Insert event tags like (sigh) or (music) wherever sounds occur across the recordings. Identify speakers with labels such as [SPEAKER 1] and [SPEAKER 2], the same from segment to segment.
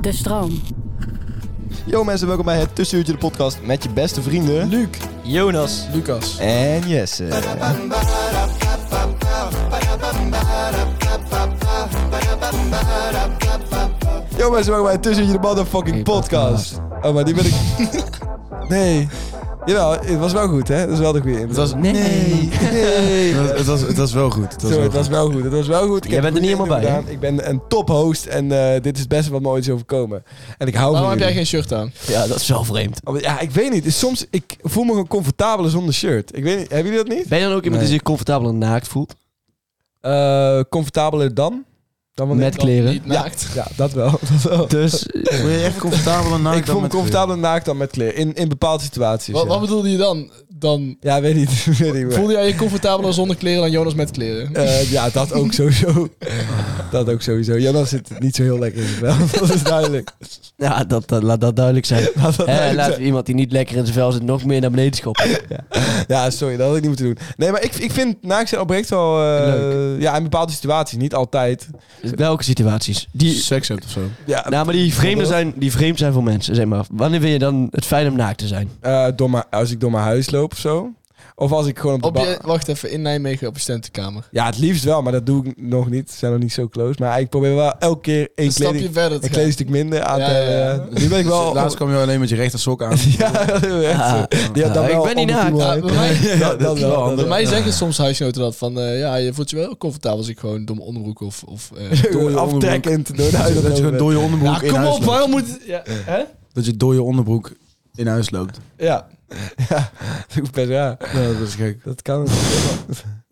[SPEAKER 1] De stroom.
[SPEAKER 2] Yo mensen, welkom bij het Tussenuurtje de podcast met je beste vrienden... Luc, Jonas
[SPEAKER 3] Lucas.
[SPEAKER 2] en Jesse. Yo mensen, welkom bij het Tussenuurtje de motherfucking podcast. Oh, maar die ben ik... nee. Jawel, het was wel goed hè? Dat is wel de goede Het
[SPEAKER 3] was-
[SPEAKER 2] Nee.
[SPEAKER 4] (laughs)
[SPEAKER 2] Nee.
[SPEAKER 3] Het, het was, het was wel goed. Het was
[SPEAKER 2] Zo,
[SPEAKER 3] wel
[SPEAKER 2] het was
[SPEAKER 3] goed.
[SPEAKER 2] wel goed. Het was wel goed. Ik
[SPEAKER 5] Jij
[SPEAKER 2] heb
[SPEAKER 5] bent er niet
[SPEAKER 2] moeite
[SPEAKER 5] helemaal bij,
[SPEAKER 2] gedaan. Ik ben een tophost en eh, dit is het beste wat me ooit is overkomen. En ik hou
[SPEAKER 3] Waarom
[SPEAKER 2] van
[SPEAKER 3] heb jij
[SPEAKER 2] jullie.
[SPEAKER 3] geen shirt aan?
[SPEAKER 5] Ja, dat is wel vreemd.
[SPEAKER 2] Oh, Ja, ik weet niet. Soms, ik voel me gewoon comfortabeler zonder shirt. Ik weet niet, hebben jullie dat niet?
[SPEAKER 5] Ben je dan ook iemand
[SPEAKER 2] Nee.
[SPEAKER 5] die zich comfortabel en naakt voelt?
[SPEAKER 2] Eh, comfortabeler dan? dan wanneer-
[SPEAKER 5] Met kleren.
[SPEAKER 3] Niet naakt.
[SPEAKER 2] Ja, dat (laughs) wel. Dat wel.
[SPEAKER 5] Dus
[SPEAKER 4] Wil je echt comfortabel en naakt
[SPEAKER 2] Oh. ik voel me comfortabeler naakt dan met kleren. In, in bepaalde situaties.
[SPEAKER 3] Wat,
[SPEAKER 2] ja.
[SPEAKER 3] wat bedoelde je dan? dan
[SPEAKER 2] ja, weet niet. (laughs) weet niet maar-
[SPEAKER 3] voelde jij je comfortabeler zonder kleren dan Jonas met kleren?
[SPEAKER 2] Eh, ja, dat ook sowieso. (laughs) dat ook sowieso. Jonas zit het niet zo heel lekker in het wel. (laughs) dat is duidelijk.
[SPEAKER 5] ja, dat, dat- laat dat duidelijk zijn.
[SPEAKER 2] Laat dat
[SPEAKER 5] Hè,
[SPEAKER 2] duidelijk
[SPEAKER 5] laten
[SPEAKER 2] zijn.
[SPEAKER 5] we iemand die niet lekker in zijn vel zit nog meer naar beneden schoppen.
[SPEAKER 2] Ja, sorry, dat had ik niet moeten doen. Nee, maar ik, ik vind naakt zijn oprecht wel... eh, Ja, in bepaalde situaties. Niet altijd.
[SPEAKER 5] Dus welke situaties? Die,
[SPEAKER 3] Seks hebt of zo.
[SPEAKER 2] Ja,
[SPEAKER 5] nou, maar die vreemden zijn, die vreemd zijn voor mensen, zeg maar. Wanneer vind je dan het fijn om naakt te zijn?
[SPEAKER 2] eh, door mijn, als ik door mijn huis loop of zo. Of als ik gewoon op de
[SPEAKER 3] Op
[SPEAKER 2] ba-
[SPEAKER 3] je, wacht even, in Nijmegen op je studentenkamer.
[SPEAKER 2] Ja, het liefst wel, maar dat doe ik nog niet. Ze zijn nog niet zo close. Maar ik probeer wel elke keer één
[SPEAKER 3] Een stapje
[SPEAKER 2] kleding,
[SPEAKER 3] verder
[SPEAKER 2] een
[SPEAKER 3] te gaan.
[SPEAKER 2] kledingstuk minder aan
[SPEAKER 3] Ja,
[SPEAKER 2] te...
[SPEAKER 3] ja, ja.
[SPEAKER 2] eh, (laughs) Nu ben ik
[SPEAKER 3] (laughs)
[SPEAKER 2] wel...
[SPEAKER 4] Laatst kwam je alleen met je rechter sok aan.
[SPEAKER 2] ja, dat is echt zo. Die had dan
[SPEAKER 5] Ah, ik
[SPEAKER 2] wel
[SPEAKER 5] ben niet
[SPEAKER 2] onderkoel
[SPEAKER 3] Ja,
[SPEAKER 2] aan.
[SPEAKER 3] bij mij,
[SPEAKER 2] dat, dat wel.
[SPEAKER 3] bij
[SPEAKER 2] dat
[SPEAKER 3] mij
[SPEAKER 2] wel.
[SPEAKER 3] zeggen soms huisgenoten dat van, eh, ja, je voelt je wel comfortabel als ik gewoon door mijn onderbroek of... of eh,
[SPEAKER 2] Gewoon
[SPEAKER 4] je onderbroek.
[SPEAKER 2] aftrekkend door
[SPEAKER 4] (laughs)
[SPEAKER 2] de
[SPEAKER 4] Dat
[SPEAKER 2] huid.
[SPEAKER 4] je, dat je gewoon door je onderbroek
[SPEAKER 3] ja,
[SPEAKER 4] in
[SPEAKER 3] kom
[SPEAKER 4] huis
[SPEAKER 3] op,
[SPEAKER 4] loopt.
[SPEAKER 3] waarom moet... Ja, hè?
[SPEAKER 4] Dat je door je onderbroek in huis loopt.
[SPEAKER 3] ja.
[SPEAKER 2] Dat is (laughs) best raar.
[SPEAKER 4] Ja, dat is gek.
[SPEAKER 2] Dat kan.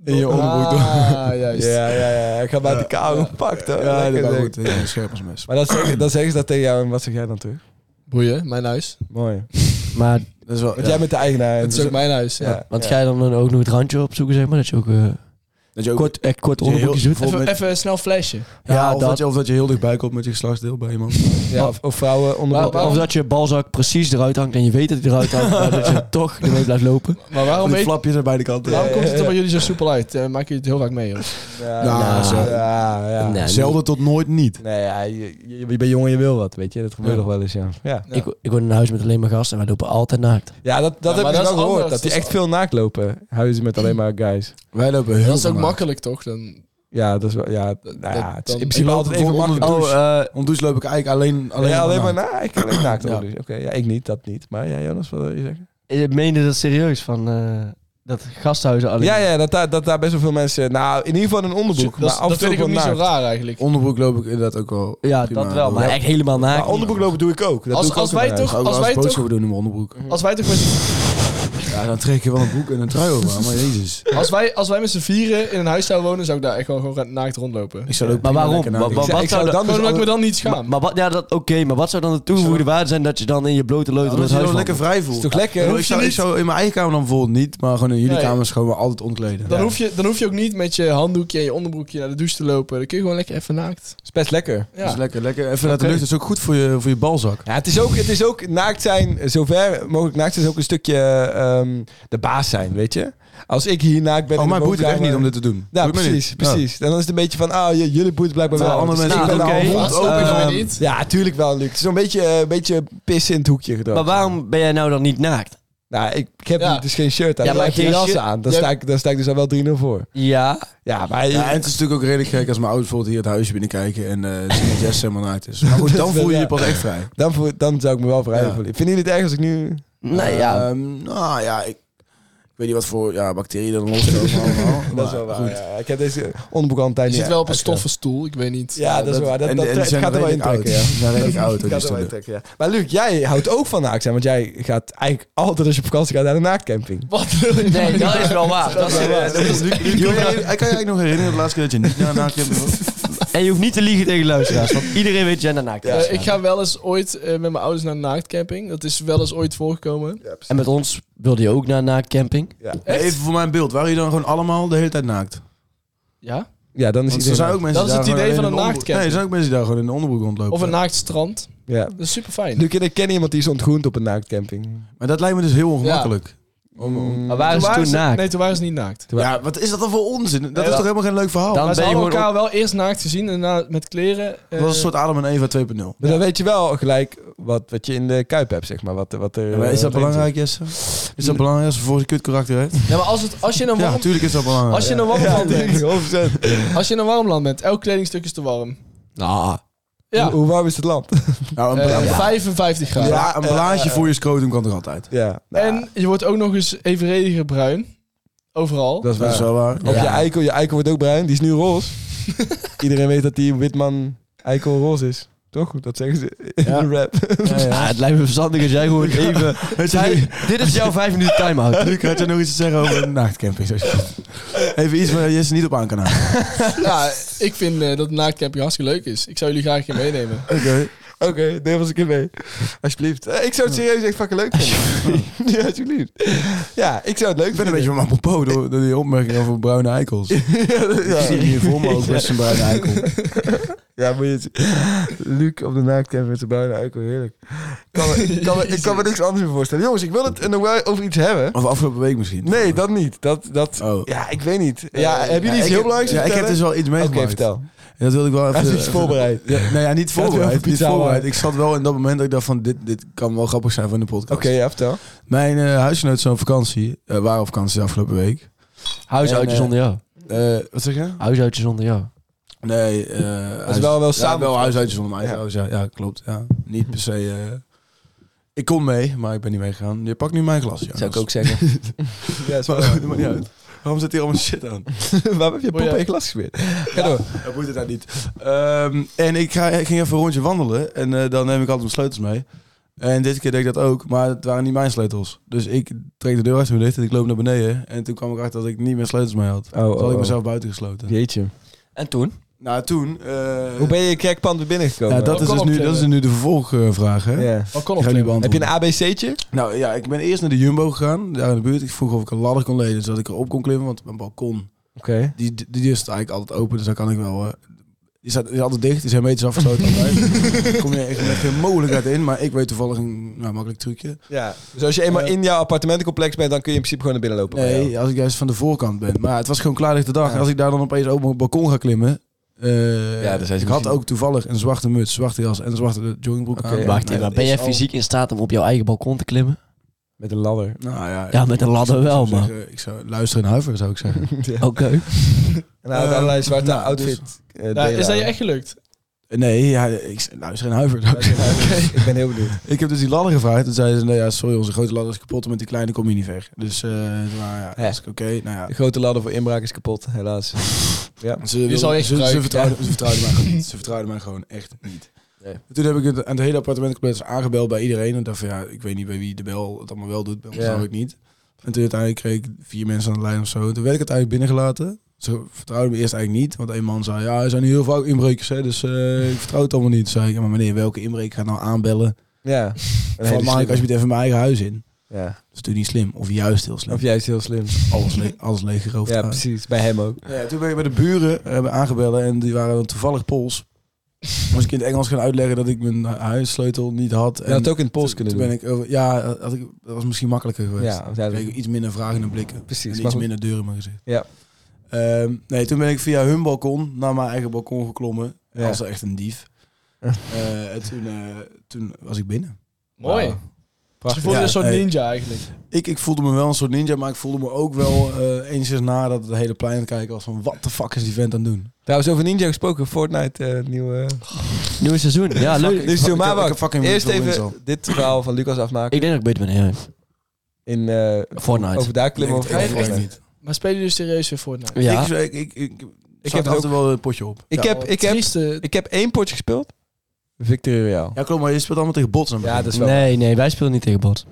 [SPEAKER 4] In je onderbroek door.
[SPEAKER 3] Ah, juist.
[SPEAKER 2] Ja, ja, ja. Ik ga bij de kou gepakt. hoor.
[SPEAKER 4] Ja,
[SPEAKER 2] Lekker
[SPEAKER 4] dat is
[SPEAKER 2] zeg.
[SPEAKER 4] goed. Ja, een scherpersmes.
[SPEAKER 2] Maar dat zeggen, dat zeggen ze dat tegen jou. En wat zeg jij dan terug?
[SPEAKER 3] Boeien, mijn huis.
[SPEAKER 2] Mooi.
[SPEAKER 5] Maar,
[SPEAKER 4] Dat is wel...
[SPEAKER 2] Want
[SPEAKER 4] ja.
[SPEAKER 2] jij bent de eigenaar. dus
[SPEAKER 3] Het is ook mijn huis, ja.
[SPEAKER 2] Ja.
[SPEAKER 5] want ga je dan dan ook nog het randje opzoeken, zeg maar? Dat je ook eh,
[SPEAKER 4] Dat je ook...
[SPEAKER 5] kort, echt kort
[SPEAKER 4] Dat je heel-
[SPEAKER 5] onderbroekjes doet?
[SPEAKER 4] vol-
[SPEAKER 3] Even,
[SPEAKER 4] met-
[SPEAKER 3] even snel flesje.
[SPEAKER 4] Ja,
[SPEAKER 5] Ja,
[SPEAKER 4] of,
[SPEAKER 5] dat-
[SPEAKER 4] dat... je, of dat je heel dichtbij komt met je geslachtsdeel bij (laughs) iemand.
[SPEAKER 2] Ja, of, of vrouwen onder
[SPEAKER 3] Maar- maar-
[SPEAKER 5] Of dat je balzak precies eruit hangt en je weet dat hij eruit hangt, maar dat je hem toch ermee blijft lopen.
[SPEAKER 3] Maar waarom
[SPEAKER 4] Van die
[SPEAKER 3] weet
[SPEAKER 4] flapjes aan beide kanten.
[SPEAKER 3] Waarom komt het
[SPEAKER 2] ja,
[SPEAKER 3] er
[SPEAKER 2] ja.
[SPEAKER 3] bij jullie zo soepel uit? Eh, Maak je het heel vaak mee, joh.
[SPEAKER 2] Ja,
[SPEAKER 4] Nou,
[SPEAKER 2] zo.
[SPEAKER 4] zo.
[SPEAKER 2] ja, ja.
[SPEAKER 5] Nee,
[SPEAKER 4] Zelden tot nooit niet.
[SPEAKER 2] Nee, ja, je, je, je bent jong en je wil wat, weet je. Dat gebeurt
[SPEAKER 4] Ja.
[SPEAKER 2] nog wel eens, ja. Ja,
[SPEAKER 5] Ik, ik woon in een huis met alleen maar gasten en wij lopen altijd naakt.
[SPEAKER 2] ja dat, dat
[SPEAKER 3] Ja,
[SPEAKER 2] heb
[SPEAKER 3] maar
[SPEAKER 2] ik dus
[SPEAKER 3] dat
[SPEAKER 2] wel
[SPEAKER 3] is
[SPEAKER 2] gehoord.
[SPEAKER 3] anders.
[SPEAKER 2] Dat die
[SPEAKER 3] Dat is
[SPEAKER 2] echt veel naakt lopen. Huizen met alleen maar guys.
[SPEAKER 4] Wij lopen heel
[SPEAKER 3] Dat is
[SPEAKER 4] veel
[SPEAKER 3] ook
[SPEAKER 4] naakt.
[SPEAKER 3] makkelijk, toch? Dan,
[SPEAKER 2] Ja, dat is wel... Ja,
[SPEAKER 3] Dat-
[SPEAKER 2] nou ja, het is in
[SPEAKER 3] dan-
[SPEAKER 2] principe
[SPEAKER 4] ik loop
[SPEAKER 2] altijd even
[SPEAKER 4] bijvoorbeeld
[SPEAKER 2] makkelijk.
[SPEAKER 4] onder
[SPEAKER 5] Dus-
[SPEAKER 2] Oh,
[SPEAKER 4] de
[SPEAKER 2] eh,
[SPEAKER 4] Ondertussen loop ik eigenlijk alleen... alleen
[SPEAKER 2] ja, alleen maar
[SPEAKER 4] naakt.
[SPEAKER 2] na, ik alleen naakt.
[SPEAKER 4] Ja.
[SPEAKER 2] onder de douche. Oké, ja, ik niet, dat niet. Maar ja, Jonas, wat wil je zeggen?
[SPEAKER 5] Ik meende dat serieus van eh, dat gasthuizen alleen.
[SPEAKER 2] Ja, ja, dat daar, dat daar best wel veel mensen... Nou, in ieder geval in een onderbroek.
[SPEAKER 3] dat,
[SPEAKER 2] maar af en
[SPEAKER 3] dat
[SPEAKER 2] toe
[SPEAKER 3] vind ik ook
[SPEAKER 2] wel
[SPEAKER 3] niet zo
[SPEAKER 2] naakt.
[SPEAKER 3] raar, eigenlijk.
[SPEAKER 4] Onderbroek loop ik inderdaad ook wel...
[SPEAKER 5] Ja,
[SPEAKER 4] prima.
[SPEAKER 5] dat wel, maar
[SPEAKER 4] Ja.
[SPEAKER 5] echt helemaal naakt.
[SPEAKER 2] Maar onderbroek lopen doe ik ook. Dat
[SPEAKER 3] Als-
[SPEAKER 2] doe ik
[SPEAKER 3] als
[SPEAKER 2] ook
[SPEAKER 3] wij
[SPEAKER 2] in mijn
[SPEAKER 3] toch-
[SPEAKER 2] huis.
[SPEAKER 4] Ook
[SPEAKER 3] Als
[SPEAKER 4] als, wij
[SPEAKER 3] wij toch-
[SPEAKER 4] boodschappen doen in mijn onderbroek.
[SPEAKER 3] Als wij, toch met,
[SPEAKER 4] Ja, dan trek je wel een broek en een trui over. aan, Maar jezus.
[SPEAKER 3] als, wij, als wij met z'n vieren in een huis zouden wonen, zou ik daar echt gewoon, gewoon naakt rondlopen.
[SPEAKER 4] Ik zou ook
[SPEAKER 5] Maar
[SPEAKER 4] prima
[SPEAKER 5] waarom?
[SPEAKER 4] lekker nadenken.
[SPEAKER 5] Wa- wa-
[SPEAKER 2] Ik
[SPEAKER 5] wat
[SPEAKER 2] zou
[SPEAKER 5] zou
[SPEAKER 2] dan dus
[SPEAKER 3] Gewoon omdat ik me
[SPEAKER 2] alle-
[SPEAKER 3] dan niet
[SPEAKER 5] maar,
[SPEAKER 3] schaam.
[SPEAKER 5] maar wat, ja, dat- oké, maar wat zou dan de toegevoegde waarde zijn dat je dan in je blote
[SPEAKER 4] Ja,
[SPEAKER 5] leuter door
[SPEAKER 4] Omdat je
[SPEAKER 5] het huis
[SPEAKER 4] dan lekker
[SPEAKER 5] wandelt?
[SPEAKER 4] vrij voelt.
[SPEAKER 2] Is toch lekker?
[SPEAKER 4] ik, zou, ik zou in mijn eigen kamer dan bijvoorbeeld niet, maar gewoon in jullie
[SPEAKER 3] Nee.
[SPEAKER 4] kamers gewoon wel altijd ontkleden.
[SPEAKER 3] dan,
[SPEAKER 4] Ja.
[SPEAKER 3] hoef je, dan hoef je ook niet met je handdoekje en je onderbroekje naar de douche te lopen. Dan kun je gewoon lekker even naakt.
[SPEAKER 2] is best lekker.
[SPEAKER 3] Ja.
[SPEAKER 4] Dat is Dus lekker, lekker. Even laten luchten. Dat is ook goed voor je, voor je balzak.
[SPEAKER 2] Ja, het is ook, het is ook naakt zijn, zover mogelijk naakt zijn, is ook een stukje ehm, de baas zijn, weet je? Als ik hier naakt ben...
[SPEAKER 4] Oh,
[SPEAKER 2] in de
[SPEAKER 4] mij boeit het echt
[SPEAKER 2] woonkamer-
[SPEAKER 4] niet om dit te doen.
[SPEAKER 2] Ja,
[SPEAKER 4] Boeit me
[SPEAKER 2] precies,
[SPEAKER 4] niet. Oh.
[SPEAKER 2] precies. En dan is het een beetje van, ah, j- jullie boeit blijkbaar wel.
[SPEAKER 4] Terwijl andere
[SPEAKER 2] Dus
[SPEAKER 4] mensen
[SPEAKER 2] ik ben
[SPEAKER 5] zeggen,
[SPEAKER 2] nou
[SPEAKER 5] oké,
[SPEAKER 2] een hond.
[SPEAKER 3] Als open Ehm,
[SPEAKER 2] Eh,
[SPEAKER 3] gewoon niet.
[SPEAKER 2] Ja, tuurlijk wel, Luc. Het is een beetje, een beetje eh, pissen in het hoekje gedaan.
[SPEAKER 5] Maar waarom ben jij nou dan niet naakt?
[SPEAKER 2] Nou, ik, ik heb
[SPEAKER 3] Ja.
[SPEAKER 2] niet- dus geen shirt aan.
[SPEAKER 5] Ja,
[SPEAKER 2] Ja, maar
[SPEAKER 5] maar
[SPEAKER 2] ik heb
[SPEAKER 5] geen
[SPEAKER 2] een jas
[SPEAKER 5] shirt-
[SPEAKER 2] aan. Dan
[SPEAKER 3] Jij-
[SPEAKER 2] sta, ik, dan sta ik dus al wel 3-0 voor.
[SPEAKER 5] Ja,
[SPEAKER 2] Ja, maar...
[SPEAKER 4] Ja, en het is natuurlijk ook redelijk gek als mijn ouders bijvoorbeeld hier het huisje binnenkijken en eh zien dat Jess helemaal uit is.
[SPEAKER 2] (laughs)
[SPEAKER 4] Maar goed, dan voel je je pas echt vrij.
[SPEAKER 2] Dan, voel- dan zou ik me wel vrij
[SPEAKER 4] Ja.
[SPEAKER 2] voelen. Vinden jullie het erg als ik nu...
[SPEAKER 5] nee, ja.
[SPEAKER 4] Ehm, nou ja, ik, ik weet niet wat voor ja, bacteriën er dan loskomen allemaal. maar
[SPEAKER 2] (laughs) dat is wel waar,
[SPEAKER 4] goed.
[SPEAKER 2] ja. Ik heb deze onderbroek al een tijd
[SPEAKER 3] Je
[SPEAKER 2] niet
[SPEAKER 3] zit wel op een
[SPEAKER 2] uitgedaan.
[SPEAKER 3] stoffen stoel, ik weet niet.
[SPEAKER 2] Ja, dat, is waar. Dat,
[SPEAKER 4] en-
[SPEAKER 2] dat
[SPEAKER 4] en die
[SPEAKER 2] trekt-
[SPEAKER 4] zijn
[SPEAKER 2] gaat er wel in
[SPEAKER 4] redelijk
[SPEAKER 2] trekken, ja.
[SPEAKER 4] oud. Die zijn redelijk
[SPEAKER 2] (laughs) Dat
[SPEAKER 4] oud, die
[SPEAKER 2] gaat er wel in
[SPEAKER 4] stoelen.
[SPEAKER 2] trekken, ja. Maar Luc, jij houdt ook van naakt zijn. Want jij gaat eigenlijk altijd als je op vakantie gaat naar de naaktcamping.
[SPEAKER 3] Wat wil je nou?
[SPEAKER 5] Nee, dat is wel waar. Dat is wel waar.
[SPEAKER 4] Luc, Kan jij kan je eigenlijk nog herinneren de laatste keer dat je niet naar een
[SPEAKER 2] (laughs)
[SPEAKER 4] naakje hebt gehoord?
[SPEAKER 5] (laughs) En je hoeft niet te liegen tegen luisteraars, want iedereen weet jij daarna
[SPEAKER 3] Eh,
[SPEAKER 5] kijkt.
[SPEAKER 3] ik ga wel eens ooit eh, met mijn ouders naar een naaktcamping. Dat is wel eens ooit voorgekomen.
[SPEAKER 5] En met ons wilde je ook naar na camping.
[SPEAKER 3] Echt?
[SPEAKER 4] Even voor mijn beeld, waren jullie dan gewoon allemaal de hele tijd naakt?
[SPEAKER 3] Ja?
[SPEAKER 2] Ja, dan is
[SPEAKER 4] Want er
[SPEAKER 2] iedereen...
[SPEAKER 4] zijn ook mensen die
[SPEAKER 3] Dat is het
[SPEAKER 4] daar
[SPEAKER 3] idee
[SPEAKER 4] gewoon alleen in
[SPEAKER 3] van een
[SPEAKER 4] de onderbroek-
[SPEAKER 3] naaktcamping.
[SPEAKER 4] Nee, er zijn ook mensen die daar gewoon in een onderbroek rondlopen.
[SPEAKER 3] Of een naaktstrand.
[SPEAKER 2] Ja.
[SPEAKER 3] Dat is super fijn.
[SPEAKER 2] Luc en ik kennen iemand die is ontgroend op een naaktcamping.
[SPEAKER 4] Maar dat lijkt me dus heel ongemakkelijk. Om- om-
[SPEAKER 5] Maar waren ze toen naakt?
[SPEAKER 3] Nee, toen waren ze niet naakt.
[SPEAKER 4] Ja, wat is dat dan voor onzin? Dat is
[SPEAKER 3] ja.
[SPEAKER 4] toch helemaal geen leuk verhaal?
[SPEAKER 5] Dan
[SPEAKER 3] Maar ze
[SPEAKER 5] ben je
[SPEAKER 3] hadden
[SPEAKER 5] gewoon
[SPEAKER 3] elkaar wel eerst naakt gezien en daarna met kleren. eh,
[SPEAKER 4] Dat was een soort Adam en Eva 2.0.
[SPEAKER 2] Maar dan weet je wel gelijk wat, wat je in de kuip hebt, zeg maar. Wat, wat er, eh,
[SPEAKER 4] Ja, maar is dat
[SPEAKER 2] wat erin
[SPEAKER 4] belangrijk, Jesse? Is dat belangrijk als ze voor zijn kut karakter
[SPEAKER 3] (laughs)
[SPEAKER 4] heeft?
[SPEAKER 3] Ja, maar als, het, als je in een
[SPEAKER 4] Ja,
[SPEAKER 3] warm,
[SPEAKER 4] natuurlijk is dat belangrijk.
[SPEAKER 3] als je in een warm
[SPEAKER 2] zit. Ja,
[SPEAKER 3] land bent,
[SPEAKER 2] natuurlijk, 100%.
[SPEAKER 3] als je in een warm land bent, elk kledingstuk is te warm.
[SPEAKER 5] Nou,
[SPEAKER 3] Ja,
[SPEAKER 2] Hoe- Hoe warm is het land?
[SPEAKER 4] Nou, een,
[SPEAKER 3] Eh,
[SPEAKER 4] bla-
[SPEAKER 3] 55 graden.
[SPEAKER 4] ja, een blaadje voor je scrotum kan er altijd.
[SPEAKER 2] Ja. Nou,
[SPEAKER 3] En je wordt ook nog eens evenrediger bruin. Overal.
[SPEAKER 2] dat is
[SPEAKER 4] Dat
[SPEAKER 2] waar.
[SPEAKER 4] is wel waar.
[SPEAKER 2] Of je
[SPEAKER 5] Ja.
[SPEAKER 2] eikel, je eikel wordt ook bruin. Die is nu
[SPEAKER 4] (laughs)
[SPEAKER 2] roze. Iedereen weet dat die witman eikel roze is. Toch? Dat zeggen ze in
[SPEAKER 4] Ja.
[SPEAKER 2] de rap.
[SPEAKER 5] ah, het lijkt me verstandig als jij (laughs) gewoon even...
[SPEAKER 3] (laughs)
[SPEAKER 5] Zij- (laughs) dit is jouw vijf minuten (laughs) time-out.
[SPEAKER 4] Luc, had je nog iets te zeggen over een naaktcamping?
[SPEAKER 3] (laughs)
[SPEAKER 4] Even iets waar Jesse niet op aan kan halen.
[SPEAKER 3] Ja, ik vind eh, dat naaktcamping hartstikke leuk is. Ik zou jullie graag een keer meenemen.
[SPEAKER 4] Oké.
[SPEAKER 2] Oké, neem ons een keer mee. Alsjeblieft. Eh, ik zou het serieus echt fucking leuk vinden. (laughs) ja, alsjeblieft. Ja, ik zou het leuk
[SPEAKER 4] Ik ben
[SPEAKER 2] vinden.
[SPEAKER 4] een beetje van mijn popo door, door die opmerking over bruine eikels.
[SPEAKER 2] (laughs)
[SPEAKER 4] Ik (laughs) zie hier voor me ook best een bruine eikel.
[SPEAKER 2] Ja, moet je het zien. Luc op de naaktcamp met zijn bruine eikel. Heerlijk. Ik kan, me-
[SPEAKER 4] (laughs)
[SPEAKER 2] ik, kan me, ik kan me niks anders meer voorstellen. Jongens, ik wil het eh, nog wel over iets hebben.
[SPEAKER 4] Of afgelopen week misschien.
[SPEAKER 2] Nee, dat niet. Dat, dat,
[SPEAKER 4] Oh. Eh,
[SPEAKER 2] Ja, ik weet niet. Ja, hebben jullie
[SPEAKER 4] Ja,
[SPEAKER 2] iets
[SPEAKER 4] ik
[SPEAKER 2] heel
[SPEAKER 4] heb-
[SPEAKER 2] belangrijks te
[SPEAKER 4] Ja, ik heb dus
[SPEAKER 2] vertellen?
[SPEAKER 4] wel iets meegemaakt.
[SPEAKER 2] Oké, vertel.
[SPEAKER 4] En Dat wilde ik wel even...
[SPEAKER 2] Hij is iets voorbereid.
[SPEAKER 4] Ja, nou ja, niet
[SPEAKER 2] Laten we even
[SPEAKER 4] voorbereid. Niet
[SPEAKER 2] pizza
[SPEAKER 4] voorbereid.
[SPEAKER 2] halen.
[SPEAKER 4] Ik zat wel in dat moment dat ik dacht van, dit, dit kan wel grappig zijn voor in de podcast.
[SPEAKER 2] Oké, ja, vertel.
[SPEAKER 4] Mijn eh huisgenoot is op vakantie. eh waren op vakantie afgelopen week.
[SPEAKER 5] Huishoudje
[SPEAKER 4] En, eh,
[SPEAKER 5] zonder jou.
[SPEAKER 4] Eh, wat zeg je?
[SPEAKER 5] Huishoudje zonder jou.
[SPEAKER 4] Nee, eh dat
[SPEAKER 2] wel- wel samen-
[SPEAKER 4] wel huisuitjes zonder mij.
[SPEAKER 2] Ja.
[SPEAKER 4] trouwens, Ja. ja, klopt. Ja. Niet per se. eh, ik kon mee, maar ik ben niet meegegaan. Je pakt nu mijn glas. Jonas.
[SPEAKER 2] (laughs)
[SPEAKER 5] zeggen.
[SPEAKER 2] Ja, is
[SPEAKER 4] Maar
[SPEAKER 2] wel-
[SPEAKER 4] goed, dat maakt niet uit. Waarom zit hier allemaal shit aan?
[SPEAKER 2] (laughs) Waarom heb je
[SPEAKER 3] Oh, ja.
[SPEAKER 2] poppen in je glas gesmeerd? Ga door.
[SPEAKER 4] (laughs) Dat moet het nou niet. Ehm, en ik, ga, ik ging even een rondje wandelen. En eh, dan neem ik altijd mijn sleutels mee. En deze keer deed ik dat ook, maar het waren niet mijn sleutels. Dus ik trek de deur achter me dicht en ik loop naar beneden. En toen kwam ik achter dat ik niet mijn sleutels mee had.
[SPEAKER 2] Oh,
[SPEAKER 4] Toen had ik mezelf buiten gesloten.
[SPEAKER 2] Jeetje.
[SPEAKER 5] En toen?
[SPEAKER 4] Nou, toen... eh,
[SPEAKER 2] Hoe ben je je kerkpand weer binnengekomen? Oh.
[SPEAKER 4] ja, dat, is dus nu, dat is dus nu de vervolgvraag, hè?
[SPEAKER 2] Ja.
[SPEAKER 3] Wat kon
[SPEAKER 4] Ik ga
[SPEAKER 3] op
[SPEAKER 4] niet
[SPEAKER 2] Heb je een
[SPEAKER 4] beantwoorden.
[SPEAKER 2] ABC'tje?
[SPEAKER 4] Nou ja, ik ben eerst naar de Jumbo gegaan, daar in de buurt. Ik vroeg of ik een ladder kon lenen, zodat ik erop kon klimmen. Want mijn balkon,
[SPEAKER 2] Oké.
[SPEAKER 4] die, die, die is eigenlijk altijd open, dus daar kan ik wel... eh, die, staat, die is altijd dicht, die zijn meters afgesloten altijd.
[SPEAKER 5] (laughs)
[SPEAKER 4] Daar kom je echt met geen mogelijkheid in, maar ik weet toevallig een nou, makkelijk trucje.
[SPEAKER 2] Ja. Dus als je eenmaal in jouw appartementencomplex bent, dan kun je in principe gewoon naar binnen lopen. bij jou.
[SPEAKER 4] Nee, als ik juist van de voorkant ben. Maar het was gewoon klaarlichte dag. En als ik daar dan opeens op mijn balkon ga klimmen... eh,
[SPEAKER 5] Ja, dan zijn ze
[SPEAKER 4] ik had
[SPEAKER 5] misschien-
[SPEAKER 4] ook toevallig een zwarte muts, zwarte jas en een zwarte joggingbroek
[SPEAKER 2] Oké.
[SPEAKER 4] aan.
[SPEAKER 5] Wacht
[SPEAKER 4] Nee,
[SPEAKER 5] even,
[SPEAKER 4] dat
[SPEAKER 5] ben
[SPEAKER 4] is
[SPEAKER 5] jij
[SPEAKER 4] al-
[SPEAKER 5] fysiek in staat om op jouw eigen balkon te
[SPEAKER 4] (laughs)
[SPEAKER 5] klimmen?
[SPEAKER 2] Met een ladder.
[SPEAKER 4] Nou ja,
[SPEAKER 5] Ja, met een ladder wel,
[SPEAKER 4] Ik zou
[SPEAKER 5] man.
[SPEAKER 4] zeggen, ik zou luisteren en huiveren, zou ik zeggen.
[SPEAKER 2] (laughs) ja.
[SPEAKER 5] Oké.
[SPEAKER 2] En hij had allerlei zwarte
[SPEAKER 4] nou,
[SPEAKER 2] outfit. Oh. eh,
[SPEAKER 3] Nou,
[SPEAKER 2] delen
[SPEAKER 3] is dat je
[SPEAKER 2] aan.
[SPEAKER 3] echt gelukt?
[SPEAKER 4] Nee, ja, ik luister geen huiver.
[SPEAKER 5] (laughs)
[SPEAKER 2] (laughs) Ik ben heel benieuwd.
[SPEAKER 4] ik heb dus die ladder gevraagd. Toen zeiden ze, nou ja, sorry, onze grote ladder is kapot. En met die kleine kom je niet ver. Dus, eh nou ja,
[SPEAKER 2] Ja.
[SPEAKER 4] dat is oké. Nou ja.
[SPEAKER 2] De grote ladder voor inbraak is kapot, helaas. Ja.
[SPEAKER 4] Ze, wilden-
[SPEAKER 3] zal je
[SPEAKER 4] ze, ze,
[SPEAKER 3] gebruiken,
[SPEAKER 4] vertrouwden, ze vertrouwden mij
[SPEAKER 2] (laughs)
[SPEAKER 4] gewoon niet. Ze vertrouwden mij gewoon echt niet.
[SPEAKER 5] Nee.
[SPEAKER 4] Toen heb ik het aan het hele appartementcomplex aangebeld bij iedereen. En dacht van, ja, ik weet niet bij wie de bel het allemaal wel doet. Bij ons
[SPEAKER 2] Ja.
[SPEAKER 4] trouw ik niet. En toen uiteindelijk kreeg ik vier mensen aan de lijn of zo. Toen werd ik uiteindelijk binnengelaten. Ze vertrouwden me eerst eigenlijk niet. Want een man zei, ja, er zijn hier heel veel inbrekers. Hè, dus eh, ik vertrouw het allemaal niet. Toen zei ik, ja, maar meneer, welke inbreker gaat nou aanbellen?
[SPEAKER 2] (laughs) Ja.
[SPEAKER 4] Van
[SPEAKER 2] Een hele
[SPEAKER 4] Mike, als je
[SPEAKER 2] slimme.
[SPEAKER 4] het even mijn eigen huis in. Dat
[SPEAKER 2] Ja.
[SPEAKER 4] is natuurlijk niet slim. Of juist heel slim.
[SPEAKER 2] Of juist heel slim.
[SPEAKER 4] alles, le alles leeggeroofd.
[SPEAKER 2] Ja,
[SPEAKER 4] Ja,
[SPEAKER 2] precies. Bij hem ook.
[SPEAKER 4] ja, toen ben ik bij de buren eh, hebben aangebeld en die waren dan toevallig Pools. (laughs) Moest ik in het Engels gaan uitleggen dat ik mijn huissleutel niet had.
[SPEAKER 2] Je had het ook in het Pools
[SPEAKER 4] toen-
[SPEAKER 2] kunnen
[SPEAKER 4] toen
[SPEAKER 2] doen.
[SPEAKER 4] ben ik over, Ja, eh, had ik, dat was misschien makkelijker geweest.
[SPEAKER 2] Ja,
[SPEAKER 4] Dan kreeg ik iets minder vragende blikken.
[SPEAKER 2] Precies,
[SPEAKER 4] En
[SPEAKER 2] maar
[SPEAKER 4] iets
[SPEAKER 2] goed.
[SPEAKER 4] minder deur in mijn gezicht.
[SPEAKER 2] Ja.
[SPEAKER 4] Ehm, nee, toen ben ik via hun balkon naar mijn eigen balkon geklommen.
[SPEAKER 2] Ja.
[SPEAKER 4] Als echt een dief. Eh, en toen, eh, toen was ik binnen.
[SPEAKER 3] Mooi.
[SPEAKER 4] Wauw.
[SPEAKER 3] Ze voelen
[SPEAKER 4] Ja,
[SPEAKER 3] een soort
[SPEAKER 4] hey.
[SPEAKER 3] ninja eigenlijk.
[SPEAKER 4] Ik, ik voelde me wel een soort ninja, maar ik voelde me ook wel eh enigszins na dat het hele plein aan het kijken was van wat de fuck is die vent aan het doen?
[SPEAKER 2] Trouwens, over Ninja gesproken. Fortnite, eh, nieuwe...
[SPEAKER 5] Nieuwe seizoen. Ja, leuk.
[SPEAKER 2] Dus doe maar
[SPEAKER 4] ik heb
[SPEAKER 2] wacht.
[SPEAKER 4] fucking
[SPEAKER 2] Eerst
[SPEAKER 4] veel mensen
[SPEAKER 2] even
[SPEAKER 4] al.
[SPEAKER 2] dit verhaal van Lucas afmaken.
[SPEAKER 5] Ik denk dat ik beter ben. Ja.
[SPEAKER 2] In, eh
[SPEAKER 5] Fortnite.
[SPEAKER 2] over daar klimmen.
[SPEAKER 4] Ik
[SPEAKER 2] Over
[SPEAKER 4] denk het
[SPEAKER 3] Fortnite.
[SPEAKER 4] echt niet.
[SPEAKER 3] Maar spelen jullie serieus weer Fortnite?
[SPEAKER 5] Ja.
[SPEAKER 4] Ik, ik, ik, ik, ik,
[SPEAKER 2] heb
[SPEAKER 4] zat
[SPEAKER 2] het
[SPEAKER 4] altijd wel een potje op.
[SPEAKER 2] Ik
[SPEAKER 4] ja.
[SPEAKER 2] heb- ik heb-
[SPEAKER 3] Oh, Trieste-
[SPEAKER 2] Ik heb één potje gespeeld. Victory Royale.
[SPEAKER 4] ja, klopt, maar je speelt allemaal tegen bots. aan het
[SPEAKER 2] Ja,
[SPEAKER 4] begin.
[SPEAKER 2] dat is wel...
[SPEAKER 5] Nee, nee, wij spelen niet tegen bot.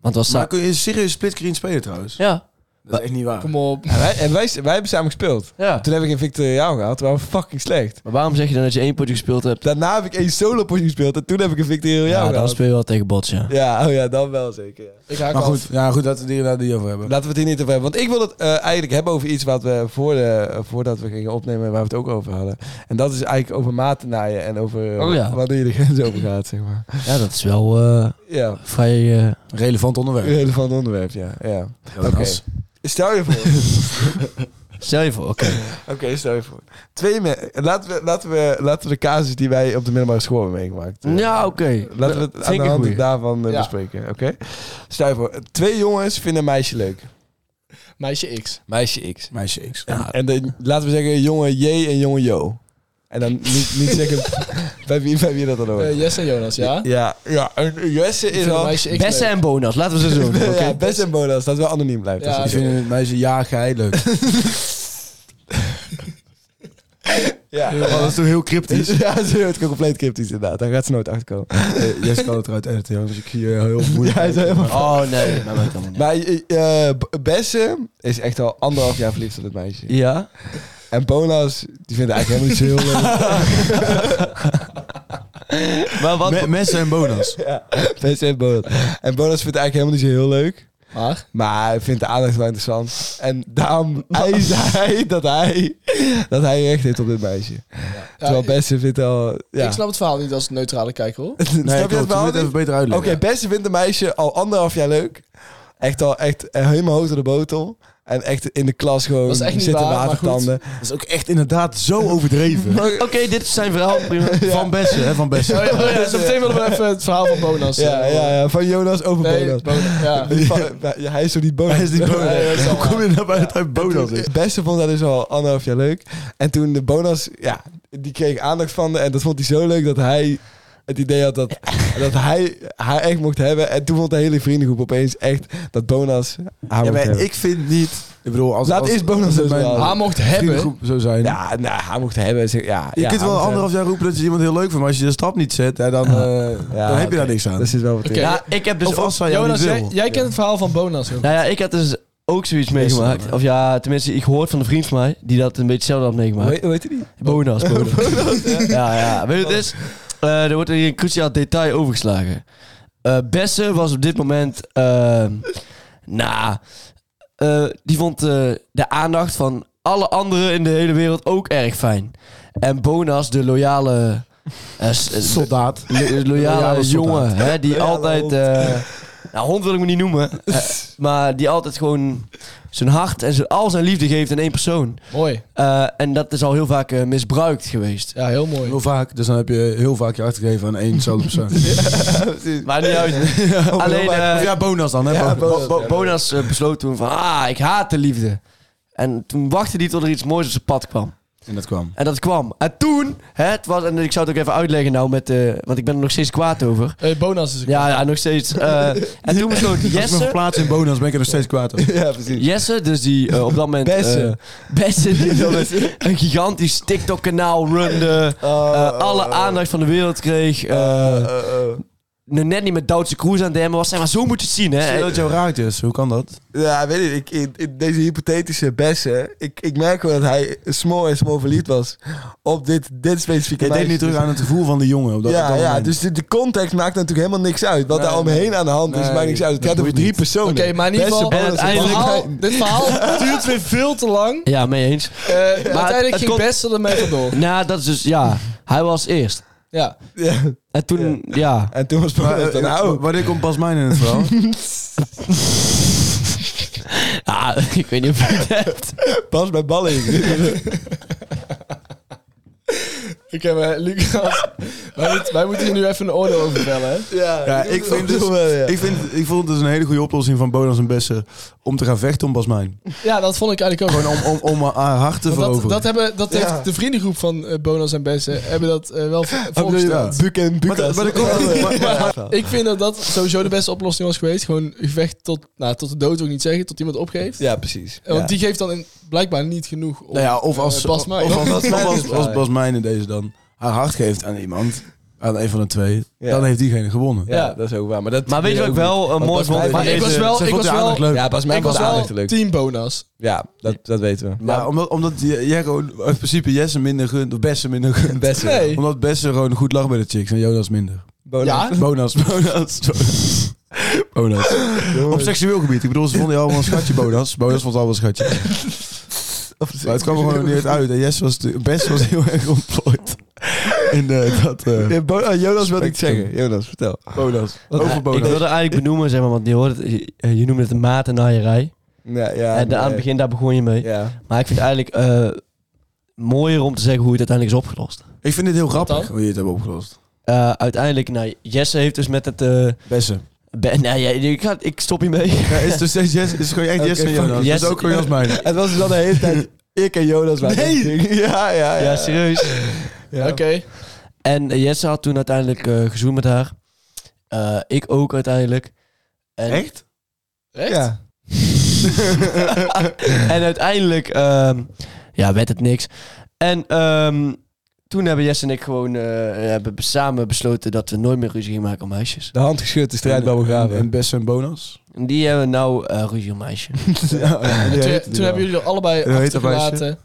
[SPEAKER 5] Want het was
[SPEAKER 4] Maar
[SPEAKER 5] saai.
[SPEAKER 4] kun je serieus split screen spelen trouwens?
[SPEAKER 5] Ja.
[SPEAKER 4] Dat is echt niet waar.
[SPEAKER 3] Kom op.
[SPEAKER 2] En wij, en wij, wij hebben samen gespeeld.
[SPEAKER 5] ja.
[SPEAKER 2] Toen heb ik in Victory Royale gehaald. Toen waren we fucking slecht.
[SPEAKER 5] Maar waarom zeg je dan dat je één potje gespeeld
[SPEAKER 4] Oh,
[SPEAKER 5] hebt?
[SPEAKER 2] Daarna heb ik één solo potje gespeeld. En toen heb ik een Victory Royale
[SPEAKER 5] Ja, dan
[SPEAKER 2] gehaald.
[SPEAKER 5] speel je wel tegen bots, ja.
[SPEAKER 2] Ja, oh ja, dan wel zeker. ja.
[SPEAKER 3] Ik haak
[SPEAKER 4] Maar
[SPEAKER 3] af.
[SPEAKER 4] goed, ja, goed dat we die daar die over hebben.
[SPEAKER 2] Laten we het hier niet over hebben. Want ik wil het eh, eigenlijk hebben over iets wat we voor de, voordat we gingen opnemen, waar we het ook over hadden. En dat is eigenlijk over maatnaaien en over eh,
[SPEAKER 5] Oh ja.
[SPEAKER 2] wanneer je de grens over gaat, zeg maar.
[SPEAKER 5] Ja, dat is wel eh,
[SPEAKER 2] Ja,
[SPEAKER 5] vrij... eh,
[SPEAKER 4] Relevant onderwerp.
[SPEAKER 2] een relevant onderwerp, ja. ja. Oké. Stel je voor.
[SPEAKER 5] Stel je voor,
[SPEAKER 4] (laughs)
[SPEAKER 5] oké.
[SPEAKER 2] Oké, stel je voor. Twee me- laten, we, laten, we, laten we de casus die wij op de middelbare school hebben meegemaakt. eh,
[SPEAKER 5] Ja, oké.
[SPEAKER 2] Laten we het
[SPEAKER 5] Vind
[SPEAKER 2] aan
[SPEAKER 5] ik
[SPEAKER 2] de
[SPEAKER 5] een
[SPEAKER 2] hand
[SPEAKER 5] goeie.
[SPEAKER 2] daarvan eh,
[SPEAKER 3] Ja.
[SPEAKER 2] bespreken, oké? Stel je voor, twee jongens vinden een meisje leuk.
[SPEAKER 3] Meisje X.
[SPEAKER 2] Meisje X.
[SPEAKER 4] Meisje X.
[SPEAKER 2] En dan, laten we zeggen jongen J en jongen Jo. En dan niet, niet zeggen bij wie, bij wie dat dan ook.
[SPEAKER 3] Eh, Jesse en Jonas, ja?
[SPEAKER 2] ja, ja, en Jesse
[SPEAKER 3] Ik
[SPEAKER 2] is
[SPEAKER 3] vind
[SPEAKER 2] al...
[SPEAKER 3] meisje X
[SPEAKER 5] Bessen
[SPEAKER 3] leuk.
[SPEAKER 5] en bonus, laten we ze zo
[SPEAKER 4] (laughs)
[SPEAKER 2] (laughs)
[SPEAKER 5] doen.
[SPEAKER 2] Ja,
[SPEAKER 5] oké?
[SPEAKER 2] best en bonus, dat wel anoniem blijft.
[SPEAKER 3] Ja,
[SPEAKER 2] Dat
[SPEAKER 4] Ik
[SPEAKER 2] is-
[SPEAKER 4] vind het meisje ja geil
[SPEAKER 2] (laughs)
[SPEAKER 4] leuk.
[SPEAKER 2] ja.
[SPEAKER 4] Oh, dat is toch heel cryptisch?
[SPEAKER 2] (laughs) Ja, ze wordt compleet cryptisch inderdaad. Daar gaat ze nooit achter komen.
[SPEAKER 4] Eh, Jesse kan het eruit editen, jongens. Ik zie je
[SPEAKER 2] (laughs)
[SPEAKER 4] heel moeilijk.
[SPEAKER 2] Ja, hij is helemaal-
[SPEAKER 5] Oh,
[SPEAKER 4] (laughs)
[SPEAKER 5] nee. Maar dat kan niet.
[SPEAKER 2] Maar eh, eh, B- Besse is echt al anderhalf jaar verliefd op het meisje.
[SPEAKER 5] Ja?
[SPEAKER 2] En Bonas, die vindt eigenlijk helemaal niet zo heel leuk.
[SPEAKER 3] (laughs)
[SPEAKER 5] Maar wat...
[SPEAKER 4] Me- mensen en
[SPEAKER 2] (laughs)
[SPEAKER 4] bonus.
[SPEAKER 2] Besse en Bonas. En Bonas vindt het eigenlijk helemaal niet zo heel leuk.
[SPEAKER 3] Maar?
[SPEAKER 2] Maar hij vindt de aandacht wel interessant. En daarom eist hij dat hij, dat hij recht heeft op dit meisje. Terwijl
[SPEAKER 3] ik-
[SPEAKER 2] Besse vindt al... Ja.
[SPEAKER 3] Ik snap het verhaal niet als neutrale kijker, hoor.
[SPEAKER 2] (laughs) Snap je
[SPEAKER 4] klopt.
[SPEAKER 2] dat
[SPEAKER 4] Je moet
[SPEAKER 2] wel?
[SPEAKER 4] het even beter
[SPEAKER 2] Oké,
[SPEAKER 4] uitleggen.
[SPEAKER 2] Besse vindt een meisje al anderhalf jaar leuk. Echt al echt eh, helemaal hoog door de botel. En echt in de klas gewoon
[SPEAKER 3] Dat is echt niet
[SPEAKER 2] zitten
[SPEAKER 3] waar, maar
[SPEAKER 2] watertanden.
[SPEAKER 4] Dat is ook echt inderdaad zo
[SPEAKER 2] (laughs)
[SPEAKER 4] overdreven.
[SPEAKER 5] Oh, Oké, dit is zijn verhaal. prima.
[SPEAKER 4] Van Bessen, hè? Van Bessen.
[SPEAKER 3] Oh, ja, ja, zo meteen willen we even het verhaal van Bonas.
[SPEAKER 2] Ja,
[SPEAKER 3] eh,
[SPEAKER 2] ja, ja, van Jonas over
[SPEAKER 3] Nee,
[SPEAKER 2] Bonas.
[SPEAKER 3] Bonas, (laughs) ja.
[SPEAKER 2] (laughs) Die van- ja, hij is toch niet Bonas?
[SPEAKER 4] Hij is niet bonus.
[SPEAKER 3] Nee, dat is wel
[SPEAKER 4] Hoe kom je nou bij dat hij bonus is?
[SPEAKER 2] Het beste vond dat dus al anderhalf jaar leuk. En toen de Bonas, ja, die kreeg aandacht van de, en dat vond hij zo leuk dat hij het idee had dat, dat hij haar echt mocht hebben. En toen vond de hele vriendengroep opeens echt dat Bonas haar
[SPEAKER 4] Ja,
[SPEAKER 2] mocht
[SPEAKER 4] maar
[SPEAKER 2] hebben.
[SPEAKER 4] ik vind niet... Ik bedoel, als...
[SPEAKER 2] Laat
[SPEAKER 4] als,
[SPEAKER 2] eerst bonus
[SPEAKER 4] als
[SPEAKER 2] dus
[SPEAKER 4] mijn
[SPEAKER 2] wel.
[SPEAKER 3] Haar mocht hebben.
[SPEAKER 4] vriendengroep zo zijn...
[SPEAKER 2] Ja, nou, haar mocht hebben. zeg- Ja,
[SPEAKER 4] Je
[SPEAKER 2] ja,
[SPEAKER 4] kunt
[SPEAKER 2] haar
[SPEAKER 4] wel
[SPEAKER 2] mocht
[SPEAKER 4] anderhalf jaar roepen dat je iemand heel leuk vindt, maar als je de stap niet zet, hè, dan, eh, dan
[SPEAKER 2] Ja,
[SPEAKER 4] heb je
[SPEAKER 2] oké.
[SPEAKER 4] daar niks aan.
[SPEAKER 2] hebben. Dat zit wel wat in.
[SPEAKER 3] Oké.
[SPEAKER 5] Ja, ik heb dus
[SPEAKER 4] of als zij jou
[SPEAKER 3] Jonas,
[SPEAKER 4] niet
[SPEAKER 3] jij,
[SPEAKER 4] wil.
[SPEAKER 3] jij kent het verhaal van Bonas, joh.
[SPEAKER 5] Nou ja, ik had dus ook zoiets meegemaakt. Of ja, tenminste, ik gehoord van een vriend van mij die dat een beetje hetzelfde had meegemaakt.
[SPEAKER 2] Hoe heet die?
[SPEAKER 5] Bonus, bonus. ja, ja. Weet je wat het is? Eh, er wordt hier een cruciaal detail overgeslagen. Eh Besse was op dit moment... ehm, nou, eh, die vond eh, de aandacht van alle anderen in de hele wereld ook erg fijn. En Bonas, de loyale... eh, s- eh,
[SPEAKER 4] Soldaat.
[SPEAKER 5] lo- (laughs) loyale,
[SPEAKER 4] Loyale soldaat.
[SPEAKER 5] jongen, hè, die
[SPEAKER 2] Loyale
[SPEAKER 5] altijd...
[SPEAKER 2] hond.
[SPEAKER 5] eh, (laughs) nou, hond wil ik me niet noemen. eh, (laughs) maar die altijd gewoon zijn hart en zijn, al zijn liefde geeft aan één persoon.
[SPEAKER 3] Mooi.
[SPEAKER 5] Eh, en dat is al heel vaak eh, misbruikt (laughs) geweest.
[SPEAKER 3] Ja, heel
[SPEAKER 4] (laughs)
[SPEAKER 3] mooi.
[SPEAKER 4] Heel vaak, dus dan heb je heel vaak je uitgegeven aan één zelfde persoon.
[SPEAKER 5] Maar niet (laughs) uit. Alleen
[SPEAKER 4] Of
[SPEAKER 5] eh
[SPEAKER 4] ja, bonus dan, hè?
[SPEAKER 2] Ja,
[SPEAKER 4] bonus.
[SPEAKER 2] bonus.
[SPEAKER 5] Bo- Bo- Bonas eh, besloot toen van, ah, ik haat de liefde. En toen wachtte hij tot er iets moois op zijn pad kwam.
[SPEAKER 4] En dat kwam.
[SPEAKER 5] En dat kwam. En toen, hè, het was, en ik zou het ook even uitleggen nou, met, eh, want ik ben er nog steeds kwaad (laughs) over.
[SPEAKER 3] Eh, Bonas is een
[SPEAKER 5] Ja, ja nog steeds. Eh, en toen besloot
[SPEAKER 4] Als ik me
[SPEAKER 5] Jesse,
[SPEAKER 4] verplaats in bonus, ben ik er nog steeds kwaad over.
[SPEAKER 2] Ja, precies.
[SPEAKER 5] Jesse, dus die eh, op dat moment... eh,
[SPEAKER 2] Besse.
[SPEAKER 5] Besse, (laughs) die wilde een gigantisch TikTok-kanaal runde. eh, alle aandacht van de wereld kreeg. eh, ne- net niet met Duitse Cruise aan het demmen was. Zeg maar, zo moet je het zien,
[SPEAKER 4] Stel
[SPEAKER 5] hè.
[SPEAKER 4] dat jou raakt dus, hoe kan dat?
[SPEAKER 2] Ja, weet je, ik, in, in deze hypothetische bessen, ik, ik merk wel dat hij small en small verliefd was op dit, dit specifieke
[SPEAKER 4] Je deed
[SPEAKER 2] meisje.
[SPEAKER 4] niet terug aan het gevoel van de jongen. Op dat, op
[SPEAKER 2] Ja,
[SPEAKER 4] dat
[SPEAKER 2] ja,
[SPEAKER 4] moment.
[SPEAKER 2] dus de, de context maakt natuurlijk helemaal niks uit. Wat
[SPEAKER 4] Nee,
[SPEAKER 2] daar omheen
[SPEAKER 4] nee.
[SPEAKER 2] aan de hand is,
[SPEAKER 4] Nee,
[SPEAKER 2] maakt niks uit. Het
[SPEAKER 4] dat
[SPEAKER 2] gaat over
[SPEAKER 4] boeit
[SPEAKER 2] drie
[SPEAKER 4] niet.
[SPEAKER 2] personen.
[SPEAKER 3] Oké, maar in ieder
[SPEAKER 2] Beste
[SPEAKER 3] geval, eh,
[SPEAKER 2] bonus,
[SPEAKER 5] En
[SPEAKER 3] dit
[SPEAKER 5] uiteindelijk-
[SPEAKER 2] bonus.
[SPEAKER 3] verhaal, dit verhaal duurt weer veel te lang.
[SPEAKER 5] Ja, mee eens.
[SPEAKER 3] Eh, uiteindelijk
[SPEAKER 5] het
[SPEAKER 3] ging
[SPEAKER 5] kon-
[SPEAKER 3] Bessel ermee vandoor.
[SPEAKER 5] Nou, dat is dus, ja. Hij was eerst.
[SPEAKER 3] Ja.
[SPEAKER 2] Ja,
[SPEAKER 5] En toen, ja.
[SPEAKER 2] en toen was nou,
[SPEAKER 4] Maar,
[SPEAKER 2] Bonus
[SPEAKER 4] eh,
[SPEAKER 2] dan ook.
[SPEAKER 4] Wanneer komt Bas Mijn in het verhaal?
[SPEAKER 5] Ah, (laughs) ik weet niet of je het hebt.
[SPEAKER 2] Pas bij ballen in.
[SPEAKER 3] Ik heb eh, Lucas, (laughs) Wij, moeten- wij moeten hier nu even een oordeel over vellen, hè?
[SPEAKER 2] Ja,
[SPEAKER 4] (laughs) Ja, ik vind dus- Ik, vind, ik vond het dus een hele goede oplossing van Bonas en Bessen om te gaan vechten om Basmijn.
[SPEAKER 3] Ja, dat vond ik eigenlijk ook.
[SPEAKER 4] Gewoon om, om, om haar hart te
[SPEAKER 3] Want
[SPEAKER 4] veroveren.
[SPEAKER 3] dat, dat, hebben, dat
[SPEAKER 2] Ja.
[SPEAKER 3] heeft de vriendengroep van eh Bonas en Bessen hebben dat
[SPEAKER 2] (laughs)
[SPEAKER 3] eh, wel v- voorgesteld.
[SPEAKER 2] Buk en Bukas.
[SPEAKER 4] Maar- maar er
[SPEAKER 2] (laughs)
[SPEAKER 4] komt- maar- maar-
[SPEAKER 3] Ik vind dat dat sowieso de beste oplossing was geweest. Gewoon een gevecht tot, nou, tot de dood wil ik niet zeggen, tot iemand opgeeft.
[SPEAKER 2] Ja, precies.
[SPEAKER 3] Eh, Want
[SPEAKER 2] Ja.
[SPEAKER 3] die geeft dan in, blijkbaar niet genoeg om
[SPEAKER 4] Nou ja, of als,
[SPEAKER 3] eh, Bas Mij.
[SPEAKER 4] of als, of als,
[SPEAKER 2] Mijn.
[SPEAKER 4] als Bas Mijn in deze dan haar hart geeft aan iemand, aan een van de twee,
[SPEAKER 2] Ja.
[SPEAKER 4] dan heeft diegene gewonnen.
[SPEAKER 2] Ja, dat is ook waar. Maar, dat
[SPEAKER 5] Maar weet je wat ik
[SPEAKER 2] ook
[SPEAKER 5] wel eh, mooi
[SPEAKER 2] Bas
[SPEAKER 5] vond?
[SPEAKER 2] Meijden-
[SPEAKER 5] van
[SPEAKER 3] Maar ik
[SPEAKER 5] deze-
[SPEAKER 3] was wel,
[SPEAKER 4] Zij
[SPEAKER 3] ik
[SPEAKER 4] vond
[SPEAKER 3] was
[SPEAKER 4] die aandacht
[SPEAKER 3] wel,
[SPEAKER 4] leuk.
[SPEAKER 2] niet? Ja, Bas Mijn
[SPEAKER 3] ik was
[SPEAKER 2] was
[SPEAKER 3] wel
[SPEAKER 2] aardig leuk.
[SPEAKER 3] team Bonas.
[SPEAKER 2] Ja, dat, dat weten we.
[SPEAKER 4] Maar omdat, omdat je- jij gewoon in principe Jesse minder gunt, of Besse minder gunt.
[SPEAKER 2] Beste.
[SPEAKER 3] Nee.
[SPEAKER 4] Omdat Besse gewoon goed lag bij de chicks en Jonas minder.
[SPEAKER 2] Bonus.
[SPEAKER 4] Bonas, Bonas, Bonas. Bonas. Op seksueel gebied. Ik bedoel, ze vonden je allemaal een schatje, Bonas. Bonas vond het allemaal een schatje. Maar het kwam er
[SPEAKER 2] (laughs)
[SPEAKER 4] gewoon niet uit. En Jesse was, natuurlijk- Besse was heel erg ontplooid. (laughs) En eh, dat... eh,
[SPEAKER 2] Ja, Bo- ah, Jonas wilde iets
[SPEAKER 4] Spectrum.
[SPEAKER 2] zeggen. Jonas, vertel.
[SPEAKER 4] Bonas. Over
[SPEAKER 5] Ik
[SPEAKER 4] Bonas.
[SPEAKER 5] wilde eigenlijk benoemen, zeg maar, want je, hoort het, je, je noemde het een maat en naaierij.
[SPEAKER 2] Ja, ja,
[SPEAKER 5] en de- aan het
[SPEAKER 2] nee.
[SPEAKER 5] begin, daar begon je mee.
[SPEAKER 2] Ja.
[SPEAKER 5] Maar ik vind het eigenlijk eh, mooier om te zeggen hoe het uiteindelijk is opgelost.
[SPEAKER 4] Ik vind dit heel grappig
[SPEAKER 3] dan?
[SPEAKER 4] hoe je het hebt opgelost.
[SPEAKER 5] Eh, uiteindelijk, nou, Jesse heeft dus met het... eh,
[SPEAKER 4] Besse.
[SPEAKER 5] be- nou ja, ik, ga, ik stop hiermee.
[SPEAKER 4] Ja, is dus steeds Jesse. Is gewoon echt
[SPEAKER 2] Oké,
[SPEAKER 4] Jesse en
[SPEAKER 2] fuck
[SPEAKER 4] Jonas.
[SPEAKER 5] Jesse.
[SPEAKER 4] Dat is ook gewoon Jonas mijn.
[SPEAKER 2] (laughs)
[SPEAKER 4] (laughs)
[SPEAKER 2] Het was dus al de hele tijd ik en Jonas waren nee. Ja, ja, ja.
[SPEAKER 5] Ja, serieus.
[SPEAKER 2] Ja.
[SPEAKER 3] Oké.
[SPEAKER 5] En eh, Jesse had toen uiteindelijk eh gezoend met haar. Eh, ik ook uiteindelijk. En,
[SPEAKER 4] Echt?
[SPEAKER 3] Echt?
[SPEAKER 2] Ja.
[SPEAKER 5] (laughs) en uiteindelijk ehm, ja, werd het niks. En ehm, toen hebben Jesse en ik gewoon eh, hebben samen besloten dat we nooit meer ruzie gingen maken om meisjes.
[SPEAKER 2] De hand geschud, de strijd bij
[SPEAKER 4] En, en
[SPEAKER 2] (laughs) begraven.
[SPEAKER 4] Besse en Bonas.
[SPEAKER 5] En die hebben nou eh, ruzie om meisjes.
[SPEAKER 3] Toen, toen hebben jullie er allebei
[SPEAKER 4] Hoe heet dat
[SPEAKER 3] achtergelaten.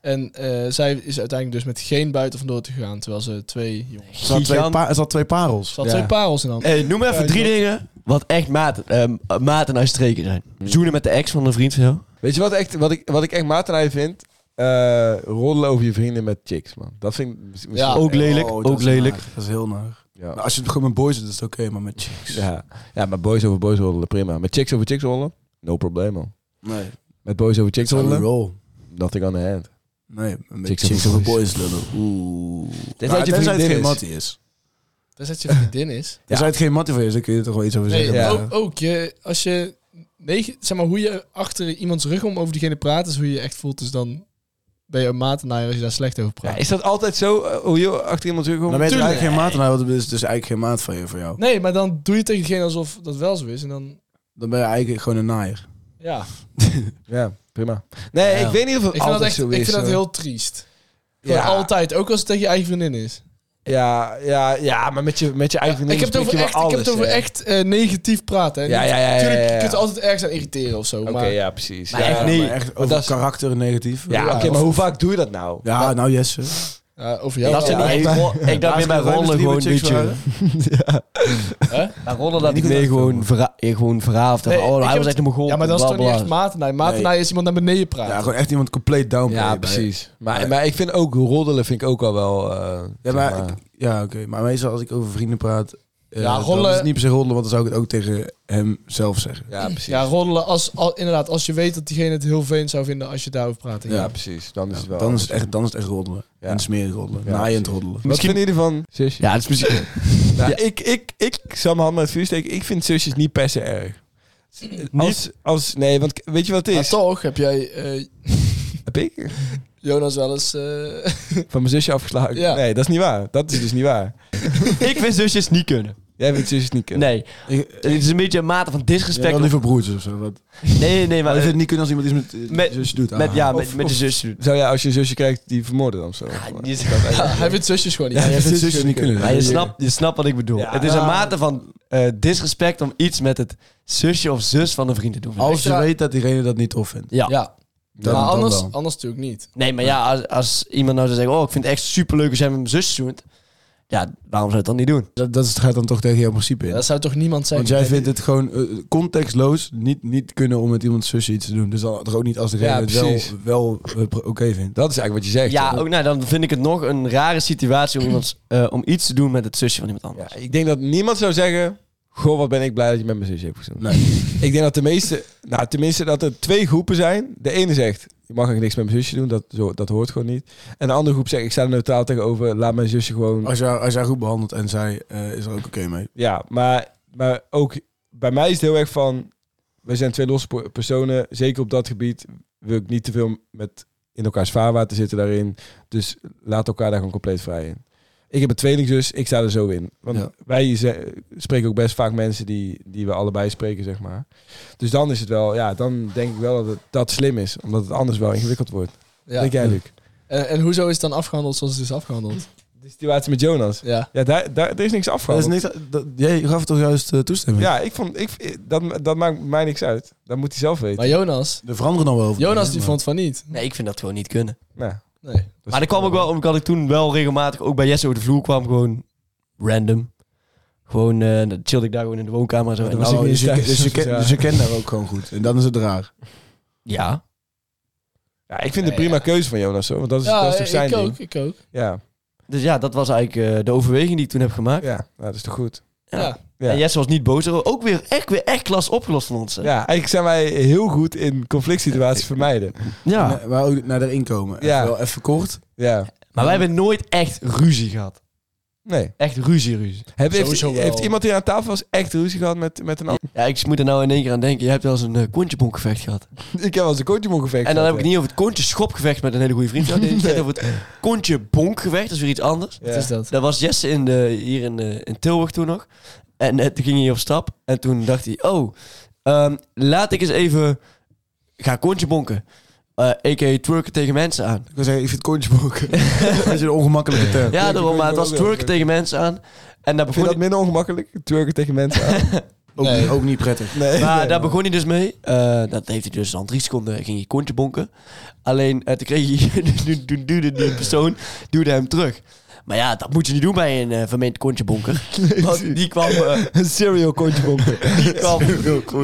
[SPEAKER 3] En eh, zij is uiteindelijk dus met geen buiten vandoor te gaan. Terwijl ze twee jongens...
[SPEAKER 4] Er zaten twee,
[SPEAKER 5] Gigan-
[SPEAKER 4] pa- er zaten twee parels.
[SPEAKER 3] Ze had
[SPEAKER 2] Ja.
[SPEAKER 3] twee parels in handen.
[SPEAKER 5] Hey, Eh, noem even drie dingen wat echt maten, eh, maten uitstreken zijn.
[SPEAKER 3] Hm.
[SPEAKER 5] Zoenen met de ex van een vriend van jou.
[SPEAKER 2] Weet je wat, echt, wat, ik, wat ik echt maat aan hij vind? Eh roddelen over je vrienden met chicks, man. Dat vind ik mis- misschien-
[SPEAKER 3] Ja.
[SPEAKER 5] Ook lelijk,
[SPEAKER 4] Oh, dat
[SPEAKER 5] ook
[SPEAKER 4] is
[SPEAKER 5] lelijk.
[SPEAKER 4] naar. Dat is heel naar. Nou,
[SPEAKER 2] Ja.
[SPEAKER 4] als je het gewoon met boys doet, is het oké, maar met chicks.
[SPEAKER 2] Ja. ja, maar boys over boys roddelen, prima. Met chicks over chicks roddelen, no probleem, man.
[SPEAKER 4] Nee.
[SPEAKER 2] Met boys over chicks
[SPEAKER 4] Zou we
[SPEAKER 2] roddelen,
[SPEAKER 4] roll?
[SPEAKER 2] nothing on the hand.
[SPEAKER 4] Nee, met
[SPEAKER 2] Chicks
[SPEAKER 4] chicks,
[SPEAKER 2] over
[SPEAKER 4] over boys lullen. Oeh. Nou,
[SPEAKER 2] Tenzij het je
[SPEAKER 4] tenzij het
[SPEAKER 2] vriendin
[SPEAKER 4] geen
[SPEAKER 2] is.
[SPEAKER 4] mattie is.
[SPEAKER 3] Dat is dat je vriendin is.
[SPEAKER 4] Tenzij het geen mattie van je is, dan kun je er toch wel iets over
[SPEAKER 3] Nee,
[SPEAKER 4] zeggen.
[SPEAKER 2] Ja.
[SPEAKER 4] maar-
[SPEAKER 3] ook, ook je, als je negen, zeg maar, hoe je achter iemands rug om over diegene praat, is hoe je je echt voelt. Dus dan ben je een matenaar als je daar slecht over praat.
[SPEAKER 2] Ja, is dat altijd zo, eh, hoe je achter iemand terugkomt?
[SPEAKER 4] Dan ben je er eigenlijk
[SPEAKER 3] Tuurlijk.
[SPEAKER 4] geen maat aan, want het is dus eigenlijk geen maat van je voor jou.
[SPEAKER 3] Nee, maar dan doe je tegen diegene alsof dat wel zo is. En dan,
[SPEAKER 4] Dan ben je eigenlijk gewoon een naaier.
[SPEAKER 3] ja.
[SPEAKER 2] Ja, prima. Nee,
[SPEAKER 3] Ja.
[SPEAKER 2] ik weet niet of het
[SPEAKER 3] Ik vind dat,
[SPEAKER 2] altijd
[SPEAKER 3] echt,
[SPEAKER 2] zo
[SPEAKER 3] ik
[SPEAKER 2] is.
[SPEAKER 3] vind dat
[SPEAKER 2] hoor.
[SPEAKER 3] heel triest. Gewoon
[SPEAKER 2] ja,
[SPEAKER 3] altijd, ook als het tegen je eigen vriendin is.
[SPEAKER 2] Ja, ja, ja, maar met je, met je eigen
[SPEAKER 3] ik heb het over echt, ik heb het over echt eh, negatief praten. Hè?
[SPEAKER 2] Ja, ja, ja, ja,
[SPEAKER 3] Tuurlijk,
[SPEAKER 2] ja, ja.
[SPEAKER 3] je kunt er altijd ergens aan irriteren of zo.
[SPEAKER 2] Oké,
[SPEAKER 3] maar
[SPEAKER 2] ja, precies.
[SPEAKER 5] Maar
[SPEAKER 2] ja,
[SPEAKER 5] echt
[SPEAKER 4] Ja,
[SPEAKER 5] niet.
[SPEAKER 4] maar echt over
[SPEAKER 2] dat is-
[SPEAKER 4] karakter negatief.
[SPEAKER 2] Ja, oké, maar hoe vaak doe je dat nou?
[SPEAKER 4] Ja, nou Jesse.
[SPEAKER 3] ja, eh, over jou. ja.
[SPEAKER 5] dat zijn niet echt ro- Ik dacht meer bij rollen gewoon een beetje... Bij rollen dat ik meer gewoon, verra eh, gewoon verhaafd.
[SPEAKER 3] Nee,
[SPEAKER 5] en oh,
[SPEAKER 3] ik
[SPEAKER 5] hij
[SPEAKER 3] heb
[SPEAKER 5] was
[SPEAKER 3] het-
[SPEAKER 5] echt een mogol.
[SPEAKER 3] Ja, maar dat is toch niet echt matenaar. Matenaar is iemand naar beneden
[SPEAKER 4] Ja,
[SPEAKER 3] praten.
[SPEAKER 4] gewoon echt iemand compleet down.
[SPEAKER 2] Ja, precies. Maar, maar ik vind ook roddelen vind ik ook al wel. eh,
[SPEAKER 4] Ja,
[SPEAKER 2] zeg
[SPEAKER 4] maar, ja oké. Maar meestal als ik over vrienden praat... eh,
[SPEAKER 3] Ja,
[SPEAKER 4] dan
[SPEAKER 3] rollen-
[SPEAKER 4] is het niet per se rollen, want dan zou ik het ook tegen hem zelf zeggen.
[SPEAKER 2] ja, precies.
[SPEAKER 3] Ja, roddelen als, al, inderdaad, als je weet dat diegene het heel vervelend zou vinden als je daarover praat.
[SPEAKER 2] ja, precies. Dan is het wel.
[SPEAKER 4] dan, is het echt, dan is het echt roddelen.
[SPEAKER 2] Ja.
[SPEAKER 4] En smerig roddelen.
[SPEAKER 2] Ja,
[SPEAKER 4] naaiend
[SPEAKER 2] precies.
[SPEAKER 4] roddelen.
[SPEAKER 2] Wat vinden jullie van zusjes?
[SPEAKER 5] Ja, dat is
[SPEAKER 3] (laughs)
[SPEAKER 5] misschien...
[SPEAKER 2] Nou, ik, ik, ik zal mijn hand met het vuur steken. Ik vind zusjes niet per se erg. Als, als, nee, want k- weet je wat het
[SPEAKER 3] Maar
[SPEAKER 2] is?
[SPEAKER 3] toch heb jij eh,
[SPEAKER 2] Heb ik
[SPEAKER 3] Jonas wel eens... eh, (laughs)
[SPEAKER 2] van mijn zusje afgeslagen?
[SPEAKER 3] Ja.
[SPEAKER 2] Nee, dat is niet waar. Dat is dus niet waar.
[SPEAKER 5] ik vind zusjes niet kunnen.
[SPEAKER 2] Jij vindt zusjes niet kunnen.
[SPEAKER 5] Nee. Het is een beetje een mate van disrespect.
[SPEAKER 4] Respect. liever broertjes of zo. Wat.
[SPEAKER 5] nee, nee,
[SPEAKER 4] Maar
[SPEAKER 5] maar...
[SPEAKER 4] ik vind
[SPEAKER 5] eh,
[SPEAKER 4] het niet kunnen als iemand iets met,
[SPEAKER 5] Met-
[SPEAKER 4] met zusje doet.
[SPEAKER 5] Met,
[SPEAKER 4] Ah.
[SPEAKER 5] ja, met,
[SPEAKER 2] Of-
[SPEAKER 5] met de
[SPEAKER 2] of-
[SPEAKER 5] zus. doen.
[SPEAKER 2] Zou jij als je een zusje krijgt die vermoorden dan zo?
[SPEAKER 5] Ja, Ah, die is-
[SPEAKER 3] hij vindt zusjes gewoon niet.
[SPEAKER 4] Ja, jij vindt
[SPEAKER 2] zusjes
[SPEAKER 4] zusjes niet kunnen.
[SPEAKER 5] Maar je snapt, je snapt wat ik bedoel.
[SPEAKER 2] Ja.
[SPEAKER 5] het is een
[SPEAKER 2] Ja.
[SPEAKER 5] mate van eh, disrespect om iets met het zusje of zus van een vriend te doen.
[SPEAKER 4] Als je
[SPEAKER 3] Ja.
[SPEAKER 4] weet dat diegene dat niet tof vindt.
[SPEAKER 5] Ja.
[SPEAKER 3] Ja,
[SPEAKER 4] Dan,
[SPEAKER 3] maar
[SPEAKER 4] dan
[SPEAKER 3] anders,
[SPEAKER 4] wel.
[SPEAKER 3] anders natuurlijk niet.
[SPEAKER 5] Nee, maar ja, als, als iemand nou zou zeggen... Oh, ik vind het echt superleuk als jij met mijn zus zoent. Ja, waarom zou je het dan niet doen?
[SPEAKER 4] Dat, dat is- gaat dan toch tegen jouw principe in.
[SPEAKER 3] Dat zou toch niemand
[SPEAKER 4] Want
[SPEAKER 3] zeggen?
[SPEAKER 4] jij vindt het gewoon eh, contextloos niet, niet kunnen om met iemands zusje iets te doen. Dus dan toch ook niet als degene
[SPEAKER 2] Ja,
[SPEAKER 4] het wel,
[SPEAKER 2] precies.
[SPEAKER 4] wel eh, pro- oké vindt.
[SPEAKER 2] Dat is eigenlijk wat je zegt.
[SPEAKER 5] Ja,
[SPEAKER 2] toch?
[SPEAKER 5] ook, nou, dan vind ik het nog een rare situatie om, iemands, eh, om iets te doen met het zusje van iemand anders.
[SPEAKER 2] Ja, ik denk dat niemand zou zeggen... Goh, wat ben ik blij dat je met mijn zusje hebt gestaan.
[SPEAKER 4] Nee.
[SPEAKER 2] Ik denk dat de meeste, nou tenminste dat er twee groepen zijn. De ene zegt, je mag eigenlijk niks met mijn zusje doen, dat, zo, dat hoort gewoon niet. En de andere groep zegt, ik sta er neutraal tegenover, laat mijn zusje gewoon...
[SPEAKER 4] Als jij, als jij goed behandelt en zij eh, is er ook oké mee.
[SPEAKER 2] Ja, maar, maar ook bij mij is het heel erg van, we zijn twee losse po- personen, zeker op dat gebied wil ik niet te veel met in elkaars vaarwater zitten daarin. Dus laat elkaar daar gewoon compleet vrij in. Ik heb een tweelingzus, ik sta er zo in. Want
[SPEAKER 4] Ja.
[SPEAKER 2] wij ze- spreken ook best vaak mensen die, die we allebei spreken, zeg maar. Dus dan is het wel, ja, dan denk ik wel dat het, dat slim is. Omdat het anders wel ingewikkeld wordt.
[SPEAKER 3] Ja.
[SPEAKER 2] Denk jij, Luc?
[SPEAKER 3] En, en hoezo is het dan afgehandeld zoals het is afgehandeld?
[SPEAKER 2] De situatie met Jonas.
[SPEAKER 3] Ja.
[SPEAKER 2] Ja, daar, daar, er is niks
[SPEAKER 4] Dat is
[SPEAKER 2] afgehandeld.
[SPEAKER 4] niks, dat, jij gaf toch juist eh, toestemming?
[SPEAKER 2] Ja, ik vond, ik, dat, dat maakt mij niks uit. Dat moet hij zelf weten.
[SPEAKER 3] Maar Jonas,
[SPEAKER 4] Er veranderen dan wel over.
[SPEAKER 3] Jonas die
[SPEAKER 4] Maar-
[SPEAKER 3] vond van niet.
[SPEAKER 5] Nee, ik vind dat gewoon niet kunnen.
[SPEAKER 2] Nou,
[SPEAKER 3] Nee.
[SPEAKER 2] dat
[SPEAKER 5] maar
[SPEAKER 2] is-
[SPEAKER 5] dat kwam ook wel omdat ik toen wel regelmatig ook bij Jesse over de vloer kwam. Gewoon random. Gewoon, eh dan chillde ik daar gewoon in de woonkamer. en Zo.
[SPEAKER 4] Ja,
[SPEAKER 5] En
[SPEAKER 4] dan
[SPEAKER 5] dan-
[SPEAKER 2] ik
[SPEAKER 4] nou,
[SPEAKER 2] niet
[SPEAKER 4] dus, je,
[SPEAKER 2] thuis.
[SPEAKER 4] dus, je ken-
[SPEAKER 2] Ja.
[SPEAKER 4] dus je kent daar ook gewoon goed. En dan is het raar.
[SPEAKER 5] ja.
[SPEAKER 2] Ja, ik vind het een prima keuze van Jonas, hoor. Want dat is, dat is toch zijn
[SPEAKER 3] ik ook,
[SPEAKER 2] ding.
[SPEAKER 3] ik ook.
[SPEAKER 2] Ja,
[SPEAKER 5] Dus ja, dat was eigenlijk eh, de overweging die ik toen heb gemaakt.
[SPEAKER 2] ja, nou, dat is toch goed.
[SPEAKER 5] Ja.
[SPEAKER 3] Ja.
[SPEAKER 2] Ja.
[SPEAKER 5] En Jesse was niet boos. Ook weer echt, weer echt klas opgelost van ons. hè.
[SPEAKER 2] Ja, eigenlijk zijn wij heel goed in conflict
[SPEAKER 5] (laughs)
[SPEAKER 2] situaties vermijden.
[SPEAKER 5] Ja.
[SPEAKER 4] Nee, maar eh, ook naar daarin komen.
[SPEAKER 2] Ja.
[SPEAKER 4] Ja. Wel even kort.
[SPEAKER 2] Ja,
[SPEAKER 5] Maar wij hebben nooit echt ruzie gehad.
[SPEAKER 2] nee.
[SPEAKER 5] Echt ruzie, ruzie.
[SPEAKER 2] Heb, heeft,
[SPEAKER 3] Sowieso wel.
[SPEAKER 2] heeft iemand die aan tafel was echt ruzie gehad met, met een ander?
[SPEAKER 5] Ja, ik moet er nou in één keer aan denken. Je hebt wel eens een uh, kontjebongevecht
[SPEAKER 2] (laughs)
[SPEAKER 5] gehad.
[SPEAKER 2] Ik heb wel eens een kontje mogen vechten.
[SPEAKER 5] En dan heb ik het niet over het kontje schopgevecht met een hele goede vriend. gehad. Nee, ik heb het over het kontje bonkgevecht. Dat is weer iets anders.
[SPEAKER 2] Ja.
[SPEAKER 3] Wat is dat?
[SPEAKER 5] Daar was Jesse in de, hier in, eh, in Tilburg toen nog. En eh, toen ging hij op stap. En toen dacht hij, oh, ehm, laat ik eens even gaan kontje bonken. Eh a.k.a. twerken tegen mensen aan.
[SPEAKER 4] Ik wil zeggen, ik vind kontjeboek. dat is een ongemakkelijke term.
[SPEAKER 5] Ja, daarom, maar het was
[SPEAKER 2] ook wel
[SPEAKER 5] twerken
[SPEAKER 2] leuk.
[SPEAKER 5] tegen mensen aan. En daar
[SPEAKER 2] Vind je
[SPEAKER 5] begon,
[SPEAKER 2] dat
[SPEAKER 5] hij,
[SPEAKER 2] minder ongemakkelijk? Turken tegen mensen
[SPEAKER 5] (laughs)
[SPEAKER 2] aan?
[SPEAKER 4] Ook,
[SPEAKER 3] Nee.
[SPEAKER 4] niet- ook niet prettig.
[SPEAKER 2] Nee.
[SPEAKER 5] maar daar begon hij dus mee. Eh, dat heeft hij dus dan drie seconden, ging hij kontje bonken. Alleen, eh, toen kreeg hij, (laughs) toen- toen duwde die persoon, duwde hem terug. Maar ja, dat moet je niet doen bij een eh vermeend kontjebonker. Want die kwam, eh,
[SPEAKER 2] Een serial kontje bonken.
[SPEAKER 5] (laughs) die kwam,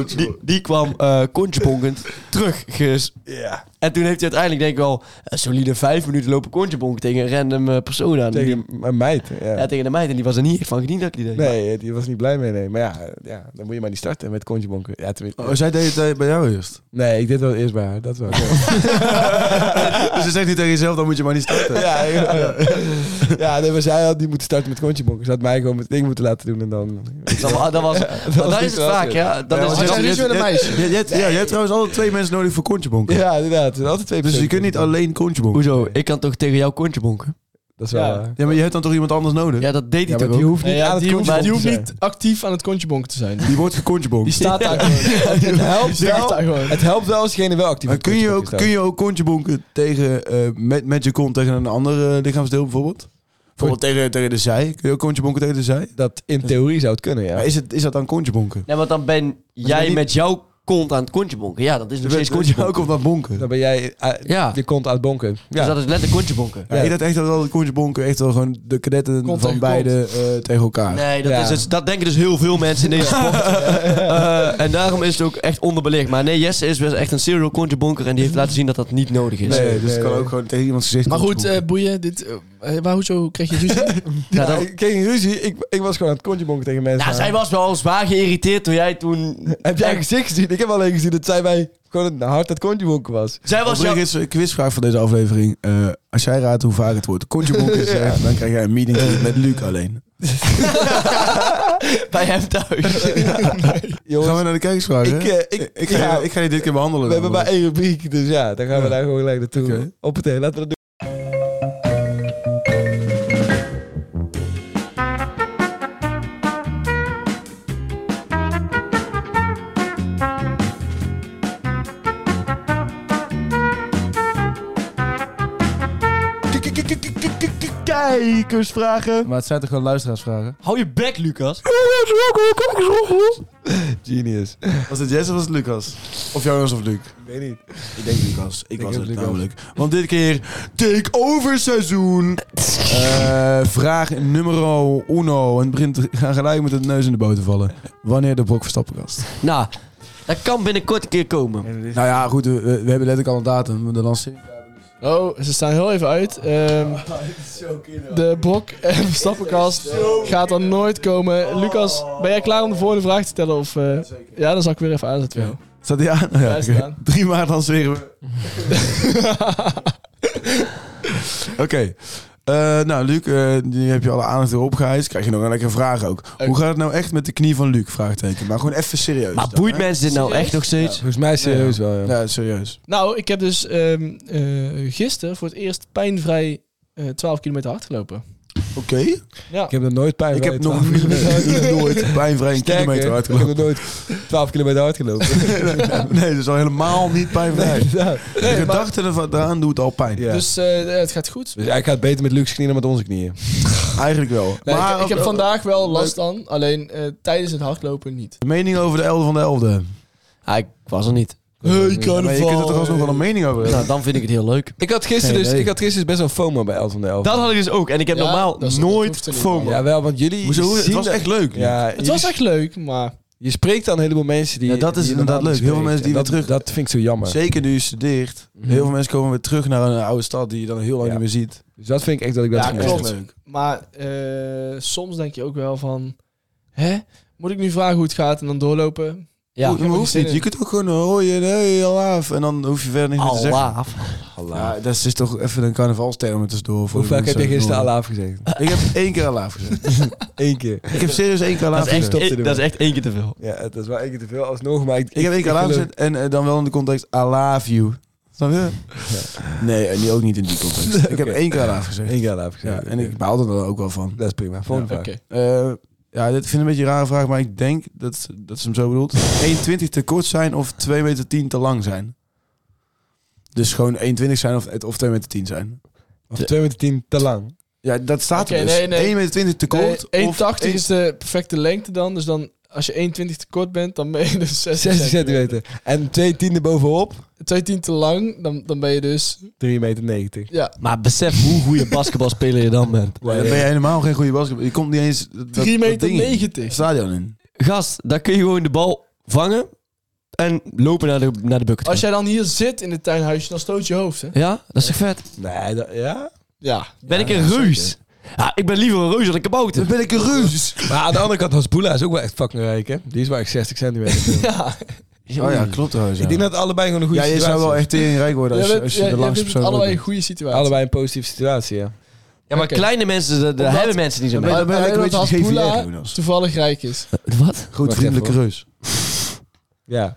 [SPEAKER 5] die, die kwam eh kontjebonkend terug. ges-
[SPEAKER 2] Ja.
[SPEAKER 5] En toen heeft hij uiteindelijk denk ik wel een solide vijf minuten lopen kontjebonken tegen een random eh, persoon aan. Die-
[SPEAKER 2] Tegen een meid.
[SPEAKER 5] ja,
[SPEAKER 2] Ja.
[SPEAKER 5] tegen de meid. En die was er niet echt van gediend dat ik die deed.
[SPEAKER 2] Nee, die was niet blij mee. Nee. Maar ja, ja, dan moet je maar niet starten met kontje bonken. Ja, tenminste-
[SPEAKER 4] Oh, zij deed het eh, bij jou eerst.
[SPEAKER 2] Nee, ik deed wel eerst bij haar. Dat wel. Ja.
[SPEAKER 4] (laughs) dus ze zegt niet tegen jezelf, dan moet je maar niet starten.
[SPEAKER 2] (laughs) Ja, ja, ja. ja nee, maar zij had niet moeten starten met kontjebonken. Ze had mij gewoon het ding moeten laten doen en dan...
[SPEAKER 5] Dat, wa- dat was, maar dat
[SPEAKER 2] niet
[SPEAKER 5] is het
[SPEAKER 2] wel
[SPEAKER 5] vaak,
[SPEAKER 2] goed.
[SPEAKER 5] ja. Dat
[SPEAKER 4] Ja,
[SPEAKER 5] is
[SPEAKER 4] want
[SPEAKER 5] het
[SPEAKER 3] Hij
[SPEAKER 4] je hebt-
[SPEAKER 3] zei, "Dit is wel
[SPEAKER 5] wel-
[SPEAKER 4] je
[SPEAKER 3] een
[SPEAKER 4] hebt-
[SPEAKER 3] meisje."
[SPEAKER 4] je hebt- Ja, je hebt trouwens alle twee mensen nodig voor kontjebonken.
[SPEAKER 2] Ja, inderdaad. Er zijn altijd twee
[SPEAKER 4] Dus je
[SPEAKER 2] personen.
[SPEAKER 4] kunt niet alleen kontjebonken.
[SPEAKER 5] Hoezo? Ik kan toch tegen jou kontjebonken?
[SPEAKER 2] Dat is wel
[SPEAKER 3] Ja.
[SPEAKER 2] waar.
[SPEAKER 4] Ja, maar je hebt dan toch iemand anders nodig?
[SPEAKER 5] Ja, dat deed
[SPEAKER 2] Ja,
[SPEAKER 5] hij
[SPEAKER 2] maar
[SPEAKER 5] toch
[SPEAKER 2] die
[SPEAKER 5] ook?
[SPEAKER 2] hoeft niet
[SPEAKER 3] Nee, ja,
[SPEAKER 2] aan het
[SPEAKER 3] die, hoeft,
[SPEAKER 2] kontje
[SPEAKER 3] die hoeft
[SPEAKER 2] te zijn.
[SPEAKER 3] niet actief aan het kontjebonken te zijn.
[SPEAKER 4] Die wordt gekontjebonken.
[SPEAKER 3] Die
[SPEAKER 2] (laughs)
[SPEAKER 3] staat daar gewoon.
[SPEAKER 2] Het helpt
[SPEAKER 3] Die staat
[SPEAKER 2] wel.
[SPEAKER 3] daar gewoon.
[SPEAKER 2] Het helpt wel als degene wel actief
[SPEAKER 4] Maar
[SPEAKER 2] op het
[SPEAKER 4] kun je, ook,
[SPEAKER 2] kontjebonken
[SPEAKER 4] kun je ook kontjebonken tegen, eh, met, met je kont tegen een ander eh, lichaamsdeel bijvoorbeeld? Bijvoorbeeld tegen, tegen de zij. Kun je ook kontjebonken tegen de zij?
[SPEAKER 2] staat. Dat in theorie zou het kunnen, ja.
[SPEAKER 4] Maar is, het, is dat dan kontjebonken?
[SPEAKER 5] Nee, want dan ben
[SPEAKER 4] ben
[SPEAKER 5] jij
[SPEAKER 4] niet-
[SPEAKER 5] met jouw kont aan het kontjebonken. Ja, dat is nog
[SPEAKER 4] Dus
[SPEAKER 5] steeds
[SPEAKER 4] je kontje ook
[SPEAKER 5] kontjebonken.
[SPEAKER 4] op dat bonken?
[SPEAKER 2] Dan ben jij eh,
[SPEAKER 5] Ja,
[SPEAKER 2] je kont aan het bonken. Ja.
[SPEAKER 5] dus dat is letterlijk kontjebonken.
[SPEAKER 4] Ja,
[SPEAKER 2] Ja.
[SPEAKER 4] Ik dacht echt dat wel de kontjebonken echt wel gewoon de kadetten
[SPEAKER 3] Kont
[SPEAKER 4] van
[SPEAKER 3] tegen
[SPEAKER 4] beide eh, tegen elkaar.
[SPEAKER 5] Nee, dat,
[SPEAKER 2] Ja.
[SPEAKER 5] is het, dat denken dus heel veel mensen in deze sport. Eh, en daarom is het ook echt onderbelicht. Maar nee, Jesse is best echt een serial kontjebonker. En die heeft laten zien dat dat niet nodig is.
[SPEAKER 4] Nee, dus
[SPEAKER 2] nee,
[SPEAKER 4] het kan
[SPEAKER 2] nee.
[SPEAKER 4] ook gewoon tegen iemands gezicht.
[SPEAKER 3] Maar goed,
[SPEAKER 4] kontjebonken.
[SPEAKER 3] eh, boeien. Dit, eh, maar hoezo kreeg je ruzie?
[SPEAKER 5] Ja,
[SPEAKER 2] Ja,
[SPEAKER 5] dat-
[SPEAKER 2] ik kreeg geen ruzie. Ik, ik was gewoon aan het kontjebonken tegen mensen.
[SPEAKER 5] nou,
[SPEAKER 2] aan.
[SPEAKER 5] zij was wel zwaar geïrriteerd toen jij toen...
[SPEAKER 2] Heb jij gezicht gezien? Ik heb alleen gezien dat zij mij gewoon hard aan het kontjebonken was.
[SPEAKER 5] Zij was jou...
[SPEAKER 4] Overigens, een quizvraag van deze aflevering. Eh, als jij raadt hoe vaak het woord kontjebonken
[SPEAKER 2] (laughs)
[SPEAKER 4] is, gezegd, dan krijg jij een meeting met Luc alleen.
[SPEAKER 5] (laughs) bij hem thuis.
[SPEAKER 2] Jongens,
[SPEAKER 4] Gaan we naar de kijkersvragen?
[SPEAKER 2] ik, eh, ik,
[SPEAKER 4] ik, ga,
[SPEAKER 2] ja,
[SPEAKER 4] ik ga je dit keer behandelen.
[SPEAKER 2] we hebben maar één rubriek, dus ja, dan gaan we
[SPEAKER 4] Ja.
[SPEAKER 2] daar gewoon gelijk naartoe.
[SPEAKER 4] Oké.
[SPEAKER 2] Op het heen, laten we dat doen.
[SPEAKER 5] Kijkersvragen.
[SPEAKER 4] Maar het zijn toch gewoon luisteraarsvragen?
[SPEAKER 5] Hou je bek, Lucas.
[SPEAKER 2] Genius.
[SPEAKER 4] Was het Jesse of was het Lucas? Of Jonas of Luc?
[SPEAKER 2] Weet niet.
[SPEAKER 4] Ik denk Lucas. Ik, was
[SPEAKER 2] heb
[SPEAKER 4] het
[SPEAKER 2] Lucas.
[SPEAKER 4] namelijk. Want dit keer take over seizoen. Eh, vraag nummer uno. En het begint gaan gelijk met het neus in de boot te vallen. Wanneer de Bok Verstappenkast?
[SPEAKER 5] Nou, dat kan binnenkort een keer komen.
[SPEAKER 4] (laughs) Nou ja, goed. We, we hebben letterlijk al een datum. De lancering.
[SPEAKER 3] Oh, ze staan heel even uit. Ehm, de Bok en Verstappenkast gaat er nooit komen. Lucas, ben jij klaar om de volgende vraag te stellen? Of, eh, ja, dan zal ik weer even aanzetten.
[SPEAKER 4] Ja. Staat die aan? Ja,
[SPEAKER 3] Hij staat
[SPEAKER 4] oké.
[SPEAKER 3] aan.
[SPEAKER 4] Drie maanden dan zweren we. Oké. Eh, nou, Luc, eh, nu heb je alle aandacht erop geheist. Krijg je nog een lekkere vraag ook. Hoe gaat het nou echt met de knie van Luc? Vraagteken. Maar gewoon even serieus.
[SPEAKER 5] Maar
[SPEAKER 4] dan,
[SPEAKER 5] boeit
[SPEAKER 4] hè?
[SPEAKER 5] mensen dit nou echt nog steeds?
[SPEAKER 2] Volgens mij serieus wel, ja.
[SPEAKER 4] Ja, serieus.
[SPEAKER 3] (laughs) Nou, ik heb dus ehm, eh, gisteren voor het eerst pijnvrij eh 12 kilometer hard gelopen.
[SPEAKER 4] Oké.
[SPEAKER 3] Ja.
[SPEAKER 2] Ik heb nog nooit pijn
[SPEAKER 4] Ik
[SPEAKER 2] bij
[SPEAKER 4] heb
[SPEAKER 2] 12
[SPEAKER 4] nog niet-
[SPEAKER 2] (laughs)
[SPEAKER 4] nooit pijnvrij een
[SPEAKER 2] Sterker,
[SPEAKER 4] kilometer
[SPEAKER 2] Ik heb nog
[SPEAKER 4] uitgelopen.
[SPEAKER 2] nooit 12 kilometer (laughs) uitgelopen.
[SPEAKER 4] (laughs) nee, dat is al helemaal niet pijnvrij.
[SPEAKER 2] Ja.
[SPEAKER 4] de gedachte ervan- daaraan doet al pijn.
[SPEAKER 2] Ja. Dus,
[SPEAKER 3] Dus eh, het gaat goed.
[SPEAKER 2] eigenlijk gaat het beter met Luxe knieën dan met onze knieën.
[SPEAKER 4] Eigenlijk wel.
[SPEAKER 3] Nee,
[SPEAKER 4] maar
[SPEAKER 3] ik, ik heb
[SPEAKER 4] ook-
[SPEAKER 3] vandaag wel last van, alleen eh, tijdens het hardlopen niet.
[SPEAKER 4] de mening over de elfde van de elfde.
[SPEAKER 5] Ah, ik was er niet.
[SPEAKER 3] Hey,
[SPEAKER 4] Maar je kunt er toch alsnog wel een mening over hebben.
[SPEAKER 5] Nou, dan vind ik het heel leuk.
[SPEAKER 2] Ik had gisteren,
[SPEAKER 5] Geen
[SPEAKER 2] dus,
[SPEAKER 5] idee.
[SPEAKER 2] ik had gisteren dus best wel FOMO bij 11 van de 11.
[SPEAKER 5] Dat had ik dus ook. En ik heb
[SPEAKER 3] Ja,
[SPEAKER 5] normaal
[SPEAKER 3] dat is- dat
[SPEAKER 5] nooit
[SPEAKER 3] hoeft er niet,
[SPEAKER 5] FOMO.
[SPEAKER 3] man.
[SPEAKER 5] Ja,
[SPEAKER 2] Ja, wel, want jullie
[SPEAKER 4] Hoezo?
[SPEAKER 2] zien
[SPEAKER 4] Het was
[SPEAKER 2] dat-
[SPEAKER 4] echt leuk.
[SPEAKER 2] Ja,
[SPEAKER 3] Het
[SPEAKER 2] jullie-
[SPEAKER 3] was echt leuk, maar
[SPEAKER 2] Je spreekt aan een heleboel mensen die...
[SPEAKER 4] Ja, dat is
[SPEAKER 2] die je
[SPEAKER 4] inderdaad
[SPEAKER 2] normaal niet
[SPEAKER 4] leuk. Heel veel
[SPEAKER 2] spreekt.
[SPEAKER 4] mensen die
[SPEAKER 2] En
[SPEAKER 4] weer
[SPEAKER 2] dat, Dat vind ik zo jammer.
[SPEAKER 4] Zeker nu je studeert.
[SPEAKER 2] Mhm.
[SPEAKER 4] Heel veel mensen komen weer terug naar een oude stad die je dan heel lang
[SPEAKER 2] Ja.
[SPEAKER 4] niet meer ziet.
[SPEAKER 2] Dus dat vind ik echt dat ik dat
[SPEAKER 3] Ja,
[SPEAKER 2] gemist
[SPEAKER 4] Echt
[SPEAKER 3] klopt.
[SPEAKER 2] heb.
[SPEAKER 4] leuk.
[SPEAKER 3] Maar eh, soms denk je ook wel van... Hè? Moet ik nu vragen hoe het gaat en dan doorlopen?
[SPEAKER 5] ja.
[SPEAKER 4] Ho-
[SPEAKER 3] ik heb er
[SPEAKER 4] hoeft
[SPEAKER 3] geen
[SPEAKER 4] niet.
[SPEAKER 3] zin
[SPEAKER 4] Je
[SPEAKER 3] in.
[SPEAKER 4] kunt ook gewoon hooien, hey, alaaf. En dan hoef je verder niet meer te zeggen.
[SPEAKER 5] Allah.
[SPEAKER 4] Ja, dat is toch even een carnavalsterm er tussendoor. voor
[SPEAKER 2] Hoe
[SPEAKER 4] de
[SPEAKER 2] vaak heb je
[SPEAKER 4] mensen
[SPEAKER 2] gisteren
[SPEAKER 4] die
[SPEAKER 2] Alaaf gezegd?
[SPEAKER 4] het horen. Ik heb één keer alaaf gezegd.
[SPEAKER 2] (laughs) Eén keer.
[SPEAKER 4] Ik heb serieus één keer alaaf
[SPEAKER 5] Dat is,
[SPEAKER 4] gezegd.
[SPEAKER 5] echt,
[SPEAKER 2] stop te
[SPEAKER 5] eh,
[SPEAKER 2] doen.
[SPEAKER 5] dat is echt één keer te veel.
[SPEAKER 2] Ja, het is wel één keer te veel alsnog, maar ik...
[SPEAKER 4] Ik heb één keer alaaf
[SPEAKER 2] geloof-
[SPEAKER 4] gezegd en eh, dan wel in de context I love you. Snap je? Nee, en die ook niet in die (laughs) context. Ik heb
[SPEAKER 2] Oké.
[SPEAKER 4] één keer alaaf gezegd.
[SPEAKER 2] Eén keer Alaaf
[SPEAKER 4] Ja,
[SPEAKER 2] gezegd.
[SPEAKER 4] en ik baal er dan ook wel van.
[SPEAKER 2] Dat is prima. Volgende
[SPEAKER 3] Oké.
[SPEAKER 2] vraag.
[SPEAKER 4] Eh, ja, dit vind ik een beetje een rare vraag, maar ik denk dat, dat ze hem zo bedoelt. 1,20 te kort zijn of 2,10 meter te lang zijn? Dus gewoon 1,20 zijn of, of 2,10 meter zijn?
[SPEAKER 2] Of 2 meter 10 te lang.
[SPEAKER 4] Ja, dat staat
[SPEAKER 3] Oké,
[SPEAKER 4] er dus.
[SPEAKER 3] nee, nee.
[SPEAKER 4] 1,20 meter te
[SPEAKER 3] Nee,
[SPEAKER 4] kort
[SPEAKER 3] 1,80
[SPEAKER 4] of
[SPEAKER 3] is de perfecte lengte dan. Dus dan, als je 1,20 te kort bent, dan ben je dus 60,
[SPEAKER 2] 60 centimeter. En 2 tienden bovenop,
[SPEAKER 3] 2,10 te lang, dan, dan ben je dus...
[SPEAKER 2] 3 meter 90.
[SPEAKER 3] Ja,
[SPEAKER 5] Maar besef hoe goede basketbalspeler je dan bent.
[SPEAKER 4] Ja, dan ben je helemaal geen goede basketbal. Je komt niet eens dat-
[SPEAKER 3] 3,90
[SPEAKER 4] dat
[SPEAKER 3] meter.
[SPEAKER 4] ding in. het stadion in.
[SPEAKER 5] Gast, dan kun je gewoon de bal vangen en lopen naar de, naar de bucket.
[SPEAKER 3] Als jij dan hier zit in het tuinhuisje, dan stoot je hoofd, hè?
[SPEAKER 5] Ja, dat is toch vet?
[SPEAKER 2] Nee, dat, ja.
[SPEAKER 3] Ja.
[SPEAKER 5] Ben ik een reus? Ja, ik ben liever een reus dan een kabouter.
[SPEAKER 4] Dan ben ik een reus.
[SPEAKER 2] Maar aan de andere kant was Boela is ook wel echt fucking rijk, hè? Die is wel echt 60 centimeter.
[SPEAKER 3] Ja,
[SPEAKER 4] Oh ja, klopt trouwens. Ja.
[SPEAKER 2] Ik denk dat allebei gewoon een goede
[SPEAKER 4] ja, je
[SPEAKER 2] situatie
[SPEAKER 4] zou wel echt tering rijk worden als,
[SPEAKER 3] Jij bent-
[SPEAKER 4] als je
[SPEAKER 3] jij-
[SPEAKER 4] de
[SPEAKER 3] jij
[SPEAKER 4] langste
[SPEAKER 3] bent
[SPEAKER 4] persoon
[SPEAKER 3] allebei een
[SPEAKER 4] wordt.
[SPEAKER 3] goede situatie.
[SPEAKER 2] Allebei een positieve situatie, ja.
[SPEAKER 5] Ja, maar
[SPEAKER 3] Oké.
[SPEAKER 5] kleine mensen, daar- daar
[SPEAKER 3] Omdat-
[SPEAKER 5] hebben mensen niet zo
[SPEAKER 4] Dan ben
[SPEAKER 5] mee.
[SPEAKER 4] je- dan ben je
[SPEAKER 3] Alleen
[SPEAKER 4] lekker een beetje
[SPEAKER 3] omdat
[SPEAKER 4] de
[SPEAKER 3] Hasbulla
[SPEAKER 4] GVR, Jonas.
[SPEAKER 3] Toevallig rijk is.
[SPEAKER 5] Wat?
[SPEAKER 4] Goed
[SPEAKER 2] Wacht even,
[SPEAKER 4] vriendelijke reus.
[SPEAKER 2] Ja,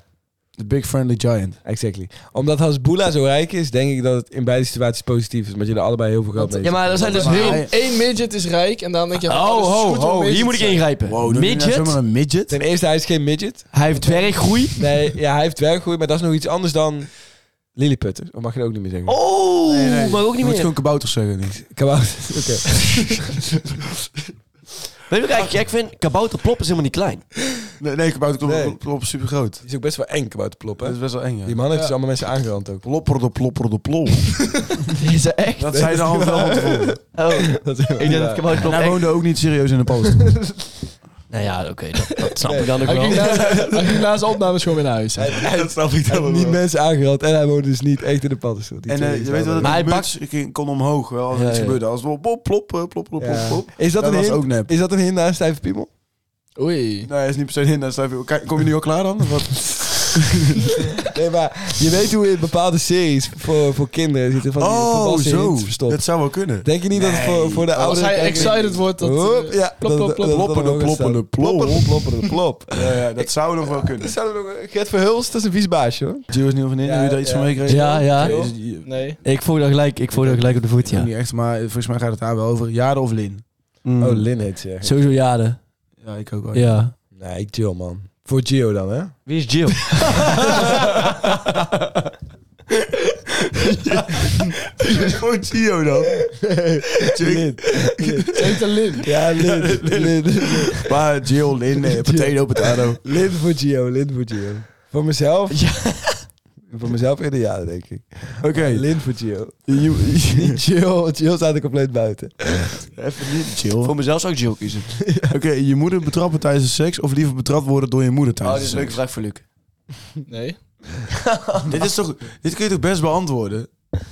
[SPEAKER 4] The big friendly giant.
[SPEAKER 2] exactly. Omdat Hasbula zo rijk is, denk ik dat het in beide situaties positief is. Omdat je er allebei heel veel geld mee
[SPEAKER 5] Ja, maar er zijn dus
[SPEAKER 4] Maar
[SPEAKER 5] heel...
[SPEAKER 4] hij-
[SPEAKER 3] Eén midget is rijk en dan denk je... van,
[SPEAKER 5] Oh,
[SPEAKER 3] dat is
[SPEAKER 5] ho,
[SPEAKER 3] goed om
[SPEAKER 5] ho,
[SPEAKER 3] midget
[SPEAKER 5] hier
[SPEAKER 3] te
[SPEAKER 5] moet ik
[SPEAKER 3] zijn.
[SPEAKER 5] ingrijpen.
[SPEAKER 4] dan ben je nou
[SPEAKER 5] Midget,
[SPEAKER 4] zomaar een midget?
[SPEAKER 2] Ten eerste, hij is geen midget.
[SPEAKER 5] hij heeft dwerggroei.
[SPEAKER 2] Nee, ja, hij heeft werkgroei, maar dat is nog iets anders dan Lilliputter. Of mag je dat ook niet meer zeggen?
[SPEAKER 5] Oh, maar ook
[SPEAKER 4] Je
[SPEAKER 5] niet
[SPEAKER 4] moet
[SPEAKER 5] meer.
[SPEAKER 4] gewoon kabouters zeggen. Niet.
[SPEAKER 2] Kabouter. Oké.
[SPEAKER 5] Weet je wat ik eigenlijk gek vind? Kabouterplop is helemaal niet klein.
[SPEAKER 4] Nee, nee kabouter klopt,
[SPEAKER 2] Nee.
[SPEAKER 4] klopt, klopt super groot.
[SPEAKER 2] Die is ook best wel eng, Kabouterplop,
[SPEAKER 4] Dat
[SPEAKER 2] hè?
[SPEAKER 4] is best wel eng,
[SPEAKER 2] Die
[SPEAKER 4] ja.
[SPEAKER 2] man heeft dus allemaal mensen aangerand ook.
[SPEAKER 4] Plopper de plopper de (laughs) plop.
[SPEAKER 5] (laughs) Is dat echt?
[SPEAKER 4] Dat zei ze al wel. van (laughs) tevoren.
[SPEAKER 5] Oh, ik
[SPEAKER 2] Dat is helemaal
[SPEAKER 5] denk dat
[SPEAKER 2] waar.
[SPEAKER 5] kabouterplop
[SPEAKER 4] En hij
[SPEAKER 5] echt...
[SPEAKER 4] woonde ook niet serieus in de post.
[SPEAKER 5] Nou ja, oké, dat, dat snap ik dan ook
[SPEAKER 3] Hij
[SPEAKER 5] wel.
[SPEAKER 3] ging
[SPEAKER 2] (laughs)
[SPEAKER 3] na- Hij ging na zijn opnames gewoon weer naar huis. hè.
[SPEAKER 4] dat snap ik
[SPEAKER 2] Hij heeft niet mensen aangerand en hij woonde dus niet echt in de paddenstoel. Die
[SPEAKER 4] En
[SPEAKER 2] twee
[SPEAKER 4] eh, je
[SPEAKER 2] dingen
[SPEAKER 4] weet wel
[SPEAKER 2] zijn
[SPEAKER 4] dat
[SPEAKER 5] Maar
[SPEAKER 4] maar
[SPEAKER 5] hij
[SPEAKER 4] hij muts ging- kon omhoog wel als er
[SPEAKER 5] Ja,
[SPEAKER 4] iets
[SPEAKER 5] ja.
[SPEAKER 4] gebeurde. Als plop, plop, plop, plop, plop, plop,
[SPEAKER 2] Ja.
[SPEAKER 4] plop.
[SPEAKER 2] Is dat,
[SPEAKER 4] Dat
[SPEAKER 2] een
[SPEAKER 4] was
[SPEAKER 2] hint?
[SPEAKER 4] ook nep.
[SPEAKER 2] Is dat een hint naar Stijve Piemel?
[SPEAKER 3] Oei.
[SPEAKER 4] Nee, hij is niet per se in. Dan schrijf je, kijk, Kom je nu al klaar dan? Of Wat?
[SPEAKER 2] Nee, maar je weet hoe in bepaalde series voor, voor kinderen zitten van die
[SPEAKER 4] Oh,
[SPEAKER 2] volwassen
[SPEAKER 4] zo.
[SPEAKER 2] hints verstopt.
[SPEAKER 4] Dat Oh, zou wel kunnen.
[SPEAKER 2] Denk je niet dat het voor, voor de
[SPEAKER 3] Als
[SPEAKER 2] ouderen...
[SPEAKER 3] hij
[SPEAKER 2] kijkers-
[SPEAKER 3] excited wordt, dat...
[SPEAKER 2] Hop,
[SPEAKER 3] eh,
[SPEAKER 2] ja.
[SPEAKER 3] plop, plop, plop.
[SPEAKER 4] Ploppende, ploppende, plop.
[SPEAKER 2] Ploppende, ploppende, plop.
[SPEAKER 4] (laughs) Ja, ja, dat zou nog wel
[SPEAKER 2] Dat
[SPEAKER 4] kunnen.
[SPEAKER 2] zou er nog... Gert Verhulst, dat is een vies baasje, hoor.
[SPEAKER 4] Jill is niet van in.
[SPEAKER 2] Ja,
[SPEAKER 4] Heb je daar iets
[SPEAKER 2] ja.
[SPEAKER 4] van meegekregen?
[SPEAKER 5] Ja, ja.
[SPEAKER 4] Is het- je-
[SPEAKER 3] Nee.
[SPEAKER 5] Ik voel dat gelijk, ik voel dat gelijk op de voet, ja.
[SPEAKER 4] Niet echt, maar volgens mij gaat het daar wel over. Jade of Lin?
[SPEAKER 5] Mm.
[SPEAKER 2] Oh, Lin heet ze.
[SPEAKER 5] Sowieso jade.
[SPEAKER 4] Ja, ik ook wel.
[SPEAKER 5] Ja.
[SPEAKER 2] Nee, ik chill, man. Voor Gio dan,
[SPEAKER 4] (laughs)
[SPEAKER 2] hè?
[SPEAKER 5] Wie is Jill?
[SPEAKER 4] Gewoon Gio dan.
[SPEAKER 2] Lin.
[SPEAKER 4] (laughs)
[SPEAKER 3] Zeker Lin.
[SPEAKER 2] Ja, Lin. Lin.
[SPEAKER 4] Maar Jill, Lin, (laughs) eh, potato, potato.
[SPEAKER 2] Lin voor Gio, Lin voor Gio. Voor mezelf... (laughs) Voor mezelf in de jaren, denk ik.
[SPEAKER 4] Oké.
[SPEAKER 2] Lin voor Gio.
[SPEAKER 4] You-
[SPEAKER 2] Niet Jill, Jill staat er compleet buiten.
[SPEAKER 4] Even niet chill.
[SPEAKER 5] (laughs) Voor mezelf zou ik Jill kiezen.
[SPEAKER 4] Oké, je moeder betrappen tijdens de seks of liever betrapt worden door je moeder
[SPEAKER 5] Oh,
[SPEAKER 4] tijdens
[SPEAKER 5] dit is
[SPEAKER 4] de
[SPEAKER 5] een
[SPEAKER 4] seks?
[SPEAKER 5] leuke vraag voor Luc.
[SPEAKER 3] Nee.
[SPEAKER 4] dit is toch, dit kun je toch best beantwoorden?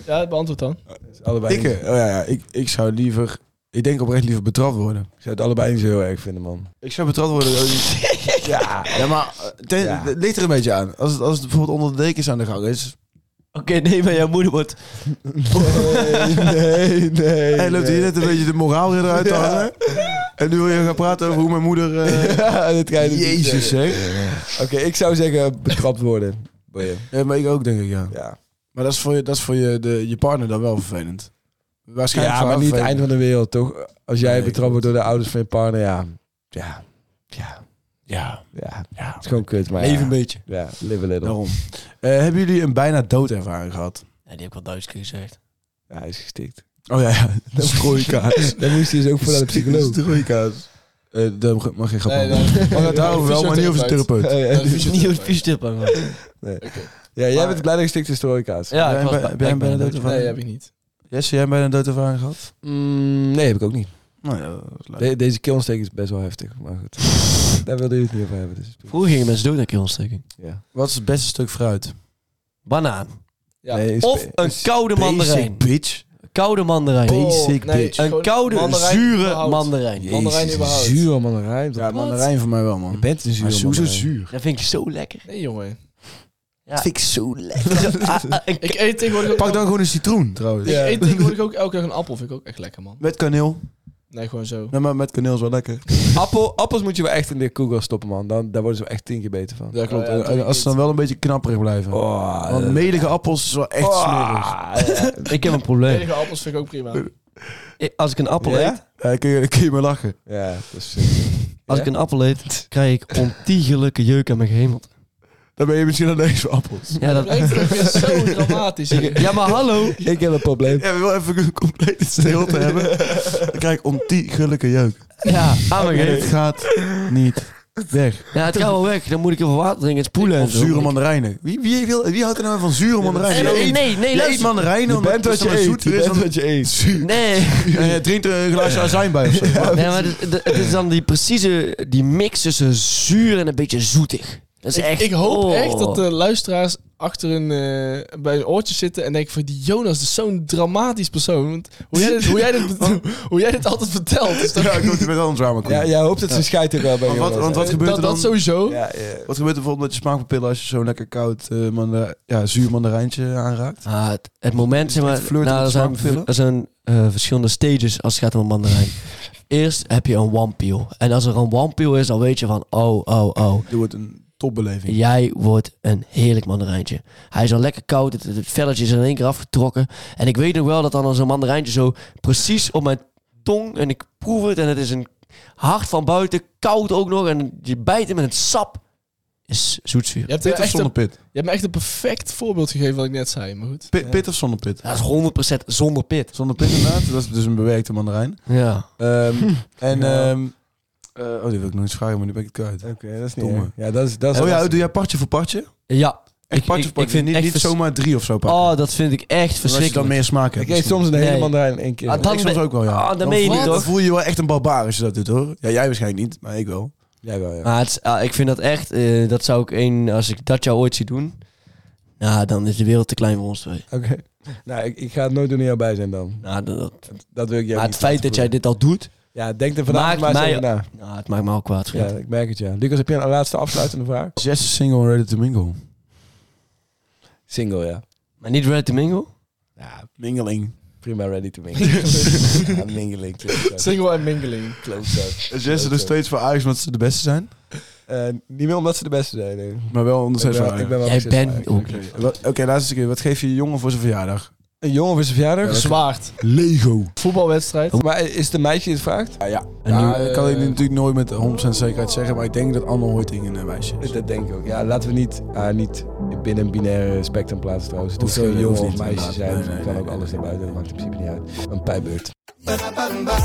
[SPEAKER 3] Ja, beantwoord dan.
[SPEAKER 2] Allebei
[SPEAKER 4] Ik, eh, oh ja, ja, ik, ik zou liever... Ik denk oprecht liever betrapt worden.
[SPEAKER 2] Ik zou het allebei niet zo heel erg vinden, man.
[SPEAKER 4] Ik zou betrapt worden. ook niet. ja, ja, maar eh, ten-
[SPEAKER 2] Ja.
[SPEAKER 4] het ligt er een beetje aan. Als het, als het bijvoorbeeld onder de dekens aan de gang is.
[SPEAKER 5] Oké, nee, maar jouw moeder wordt...
[SPEAKER 2] Nee, nee, nee.
[SPEAKER 4] Hij loopt hier net een beetje de moraal weer eruit te hangen. En nu wil je gaan praten over hoe mijn moeder... eh,
[SPEAKER 2] Ja, dit kan je natuurlijk niet
[SPEAKER 4] Jezus,
[SPEAKER 2] zeggen.
[SPEAKER 4] zeg.
[SPEAKER 2] Oké, ik zou zeggen betrapt worden. Boeien.
[SPEAKER 4] Ja, maar ik ook, denk ik, ja.
[SPEAKER 2] Ja,
[SPEAKER 4] Maar dat is voor je, dat is voor je, de, je partner dan wel vervelend. Waarschijnlijk
[SPEAKER 2] ja maar niet het einde
[SPEAKER 4] einde
[SPEAKER 2] van de wereld, toch? Als jij
[SPEAKER 4] Nee,
[SPEAKER 2] betrapt wordt door de ouders van je partner, ja. Ja,
[SPEAKER 4] Ja,
[SPEAKER 2] ja.
[SPEAKER 4] ja.
[SPEAKER 2] Het is gewoon kut, maar
[SPEAKER 5] Even een
[SPEAKER 2] ja.
[SPEAKER 5] beetje.
[SPEAKER 2] Ja, live a little.
[SPEAKER 4] Daarom. Eh, hebben jullie een bijna doodervaring gehad?
[SPEAKER 5] Ja, die heb ik al duizend keer (laughs) gezegd.
[SPEAKER 2] Ja, hij is (laughs) gestikt.
[SPEAKER 4] Oh ja, ja. (laughs) Dat is strooikaas.
[SPEAKER 2] Dan moest hij dus ook voor naar de psycholoog.
[SPEAKER 4] Strooikaas. Eh daar mag- (laughs) mag geen grap
[SPEAKER 3] Nee,
[SPEAKER 4] over.
[SPEAKER 3] nee.
[SPEAKER 4] Maar het daarover wel, maar niet over de therapeut.
[SPEAKER 2] Oh, (laughs) ja.
[SPEAKER 3] Dat is
[SPEAKER 5] Niet op het fysiotip aan. (laughs)
[SPEAKER 2] Ja, jij
[SPEAKER 4] Maar-
[SPEAKER 2] bent blij dat je gestikt is door je kaas.
[SPEAKER 5] Ja,
[SPEAKER 4] Jij
[SPEAKER 5] ik
[SPEAKER 4] bij-
[SPEAKER 5] was bij-
[SPEAKER 4] ben jij
[SPEAKER 5] ik ben
[SPEAKER 4] bij
[SPEAKER 5] een
[SPEAKER 4] de
[SPEAKER 5] dood-
[SPEAKER 4] doodervaring?
[SPEAKER 3] Nee, heb ik niet.
[SPEAKER 4] Jesse, jij bijna een doodervaring gehad?
[SPEAKER 2] Mm, nee, heb ik ook niet.
[SPEAKER 4] Nou ja, dat is leuk.
[SPEAKER 2] De- deze keelontsteking is best wel heftig, maar goed. Daar wilde je het niet over hebben. Dus
[SPEAKER 5] Vroeger gingen mensen dood aan keelontsteking.
[SPEAKER 2] ja.
[SPEAKER 4] Wat is het beste stuk fruit?
[SPEAKER 5] Banaan.
[SPEAKER 3] Ja.
[SPEAKER 2] Nee, is-
[SPEAKER 5] Of een koude mandarijn.
[SPEAKER 4] Basic bitch.
[SPEAKER 5] Koude mandarijn.
[SPEAKER 3] Oh,
[SPEAKER 4] Basic
[SPEAKER 3] nee,
[SPEAKER 4] bitch.
[SPEAKER 5] Een
[SPEAKER 3] gewoon
[SPEAKER 5] koude,
[SPEAKER 3] mandarijn
[SPEAKER 5] zure
[SPEAKER 3] überhaupt.
[SPEAKER 5] mandarijn.
[SPEAKER 4] Jezus,
[SPEAKER 3] Mandarijn überhaupt.
[SPEAKER 2] Zuur mandarijn.
[SPEAKER 4] Ja,
[SPEAKER 2] Ja,
[SPEAKER 4] mandarijn voor mij wel, man.
[SPEAKER 2] je bent een zuur
[SPEAKER 4] Maar zo zo
[SPEAKER 2] mandarijn.
[SPEAKER 4] zuur.
[SPEAKER 5] Dat vind ik
[SPEAKER 3] (laughs)
[SPEAKER 5] zo lekker.
[SPEAKER 3] Nee, jongen.
[SPEAKER 5] Ja.
[SPEAKER 4] vind ik zo lekker.
[SPEAKER 5] Ah, ah, een
[SPEAKER 3] Ik eet tegenwoordig ook...
[SPEAKER 4] Pak dan gewoon een citroen, trouwens.
[SPEAKER 3] Ik
[SPEAKER 2] Ja.
[SPEAKER 3] eet tegenwoordig ook elke dag een appel. Vind ik ook echt lekker, man.
[SPEAKER 4] Met kaneel.
[SPEAKER 3] Nee, gewoon zo.
[SPEAKER 4] Nee, maar met kaneel is wel lekker.
[SPEAKER 2] Appel, appels moet je wel echt in de koelkast stoppen, man. Dan, daar worden ze wel echt tien keer beter van.
[SPEAKER 4] Ja, klopt.
[SPEAKER 3] Oh ja,
[SPEAKER 4] En als ze dan wel een beetje knapperig blijven.
[SPEAKER 2] Oh,
[SPEAKER 4] Want melige appels is wel echt smerig.
[SPEAKER 2] smerig.
[SPEAKER 5] Ik heb een
[SPEAKER 3] (laughs)
[SPEAKER 5] probleem.
[SPEAKER 3] Enige appels vind ik ook
[SPEAKER 4] (laughs)
[SPEAKER 3] prima.
[SPEAKER 5] Ik- Als ik een appel
[SPEAKER 2] Ja?
[SPEAKER 5] eet,
[SPEAKER 4] Ja, dan kun je, dan kun je maar lachen.
[SPEAKER 2] Ja, dat is... eh,
[SPEAKER 5] als
[SPEAKER 2] Ja?
[SPEAKER 5] ik een appel eet, krijg ik ontiegelijke jeuk aan mijn gehemel.
[SPEAKER 4] Dan ben je misschien allergisch voor appels.
[SPEAKER 5] (laughs) Ja,
[SPEAKER 3] Dat
[SPEAKER 5] dat...
[SPEAKER 3] brengt het ook weer
[SPEAKER 4] (laughs)
[SPEAKER 3] zo dramatisch. in.
[SPEAKER 5] ja, maar hallo.
[SPEAKER 2] Ik heb een probleem.
[SPEAKER 4] Ja, we willen even een complete stilte (laughs) hebben. Dan krijg ik ontiegelijke jeuk.
[SPEAKER 5] Ja, aan mijn
[SPEAKER 4] En het
[SPEAKER 5] gehemel.
[SPEAKER 4] gaat niet weg.
[SPEAKER 5] Ja, het gaat wel weg. Dan moet ik even water drinken, spoelen en
[SPEAKER 4] Of
[SPEAKER 5] zo.
[SPEAKER 4] zure mandarijnen. Wie, wie, wil, wie houdt er nou van zure mandarijnen?
[SPEAKER 5] Nee, nee, nee,
[SPEAKER 4] je eet
[SPEAKER 5] luister.
[SPEAKER 4] mandarijnen
[SPEAKER 2] Je
[SPEAKER 4] omdat
[SPEAKER 2] bent wat
[SPEAKER 4] het
[SPEAKER 2] je
[SPEAKER 4] zo
[SPEAKER 2] eet.
[SPEAKER 4] zoet
[SPEAKER 2] Je
[SPEAKER 4] is.
[SPEAKER 2] bent
[SPEAKER 4] dan-
[SPEAKER 2] wat je eet.
[SPEAKER 5] Nee,
[SPEAKER 4] En je drinkt er een glaasje azijn bij of zo.
[SPEAKER 5] nee maar het, het- het is dan die precieze die mix tussen zuur en een beetje zoetig. Dat is echt,
[SPEAKER 3] Ik hoop
[SPEAKER 5] oh.
[SPEAKER 3] echt dat de luisteraars achter hun, eh, bij hun oortjes zitten en denken van die Jonas is zo'n dramatisch persoon. Want hoe, jij dit, hoe, jij dit,
[SPEAKER 4] (laughs)
[SPEAKER 3] hoe jij dit altijd vertelt. Is dat,
[SPEAKER 4] Ja, ik moet er met een drama
[SPEAKER 2] Ja, jij hoopt dat ze schijt ook wel bij
[SPEAKER 4] Want wat-
[SPEAKER 2] jongens,
[SPEAKER 4] want
[SPEAKER 2] hè?
[SPEAKER 4] wat gebeurt
[SPEAKER 3] dat,
[SPEAKER 4] er dan?
[SPEAKER 3] dat sowieso.
[SPEAKER 2] Ja, (laughs) eh,
[SPEAKER 4] Wat gebeurt er bijvoorbeeld met je smaakpapillen als je zo'n lekker koud eh, manda- ja, zuur mandarijntje aanraakt?
[SPEAKER 5] Ah, het, het moment, zeg
[SPEAKER 4] Het
[SPEAKER 5] maar,
[SPEAKER 4] flirten
[SPEAKER 5] nou,
[SPEAKER 4] met
[SPEAKER 5] er zijn,
[SPEAKER 4] smaakpillen?
[SPEAKER 5] er zijn eh, verschillende stages als het gaat om een (laughs) mandarijn. Eerst heb je een wampeel. En als er een wampeel is, dan weet je van, oh, oh, oh.
[SPEAKER 4] Dit wordt een topbeleving.
[SPEAKER 5] Jij wordt een heerlijk mandarijntje. Hij is al lekker koud, het, het velletje is in één keer afgetrokken. En ik weet nog wel dat dan als een mandarijntje zo precies op mijn tong en ik proef het en het is een hard van buiten, koud ook nog en je bijt hem en het sap is zoetzuur.
[SPEAKER 3] Je hebt, me
[SPEAKER 4] Pit of
[SPEAKER 3] echt
[SPEAKER 4] zonder
[SPEAKER 3] een,
[SPEAKER 4] pit?
[SPEAKER 3] je hebt me echt een perfect voorbeeld gegeven wat ik net zei, maar goed.
[SPEAKER 4] Pit, pit of zonder pit?
[SPEAKER 5] Dat is 100% zonder pit.
[SPEAKER 4] Zonder pit inderdaad, dat is dus een bewerkte mandarijn.
[SPEAKER 5] Ja.
[SPEAKER 4] Ehm, en,
[SPEAKER 2] Ja.
[SPEAKER 4] ehm, eh, oh die wil ik nog eens vragen, maar nu ben ik het kwijt.
[SPEAKER 2] Oké, dat is niet
[SPEAKER 4] Domme.
[SPEAKER 2] erg. Ja, dat is... Dat is
[SPEAKER 4] oh ja,
[SPEAKER 2] lastig.
[SPEAKER 4] doe jij partje voor partje?
[SPEAKER 5] Ja.
[SPEAKER 4] Echt partje voor partje, niet,
[SPEAKER 5] echt
[SPEAKER 4] niet
[SPEAKER 5] vers-
[SPEAKER 4] zomaar drie of zo pakken.
[SPEAKER 5] Oh, dat vind ik echt
[SPEAKER 4] Omdat je dan
[SPEAKER 5] verschrikkelijk.
[SPEAKER 4] meer smaak hebt.
[SPEAKER 2] Ik eet soms een
[SPEAKER 5] Nee.
[SPEAKER 2] hele mandarijn in één keer.
[SPEAKER 5] Ah, dat-
[SPEAKER 4] ik soms ook wel, ja.
[SPEAKER 5] Ah, dat meen je
[SPEAKER 4] voel-
[SPEAKER 5] niet,
[SPEAKER 4] dan
[SPEAKER 5] toch?
[SPEAKER 4] voel je je wel echt een barbaar als je dat doet, hoor. Ja, jij waarschijnlijk niet, maar ik wel.
[SPEAKER 2] Jij wel, ja.
[SPEAKER 5] Maar het is- ah, ik vind dat echt, eh, dat zou ik één, als ik dat jou ooit zie doen, nou, dan is de wereld te klein voor ons twee.
[SPEAKER 2] Oké. (laughs) Nou, ik, ik ga het nooit doen in jou bij zijn dan.
[SPEAKER 5] Nou, dat, dat-
[SPEAKER 2] Dat wil ik jou
[SPEAKER 5] maar
[SPEAKER 2] niet
[SPEAKER 5] het feit dat jij dit al doet,
[SPEAKER 2] Ja, denk er vandaag
[SPEAKER 5] Maakt
[SPEAKER 2] maar eens
[SPEAKER 5] mij-
[SPEAKER 2] over na.
[SPEAKER 5] nou, het maakt me al kwaad.
[SPEAKER 2] Ja,
[SPEAKER 5] vriend.
[SPEAKER 2] ik merk het, ja. Lucas, heb je een laatste afsluitende vraag?
[SPEAKER 4] Zesde single, ready to mingle.
[SPEAKER 2] Single, ja.
[SPEAKER 5] Maar niet Red to Mingle?
[SPEAKER 4] Ja, mingeling.
[SPEAKER 2] Prima, ready to (laughs) mingle. ja, mingling. klootzak,
[SPEAKER 3] Single en mingling.
[SPEAKER 2] klootzak.
[SPEAKER 4] Zesde er steeds voor Ajax omdat ze de beste zijn,
[SPEAKER 2] Eh, niet meer omdat ze de beste zijn, nee. Ik
[SPEAKER 4] maar wel onder
[SPEAKER 2] ben
[SPEAKER 4] zes
[SPEAKER 2] wel-
[SPEAKER 4] van
[SPEAKER 2] ik ben wel
[SPEAKER 5] Jij
[SPEAKER 2] obsessief
[SPEAKER 5] bent
[SPEAKER 2] eigenlijk.
[SPEAKER 5] ook.
[SPEAKER 4] Wat- Oké, laatste keer. Wat geef je je jongen voor zijn verjaardag?
[SPEAKER 2] Een jongen voor zijn
[SPEAKER 3] Een
[SPEAKER 2] verjaardag?
[SPEAKER 3] Zwaard.
[SPEAKER 4] Lego.
[SPEAKER 3] Voetbalwedstrijd.
[SPEAKER 2] Maar is het een meisje die het
[SPEAKER 4] Ah,
[SPEAKER 2] vraagt?
[SPEAKER 4] Ja, ja.
[SPEAKER 5] En
[SPEAKER 4] Ja, eh,
[SPEAKER 5] nu-
[SPEAKER 4] dat kan ik nu natuurlijk nooit met 100% zekerheid zeggen, maar ik denk dat Anne Hoiting een eh, meisje is.
[SPEAKER 2] Dat denk ik ook. Ja, laten we niet, ah, niet binnen een binaire spectrum plaatsen trouwens. Het hoeft
[SPEAKER 4] Hoeft
[SPEAKER 2] geen
[SPEAKER 4] geen-
[SPEAKER 2] jongen of
[SPEAKER 4] hoeft niet,
[SPEAKER 2] meisje te zijn.
[SPEAKER 4] inderdaad. Nee,
[SPEAKER 2] het
[SPEAKER 4] nee,
[SPEAKER 2] kan ook
[SPEAKER 4] nee,
[SPEAKER 2] alles naar buiten. Dat maakt in principe niet uit. Een pijbeurt.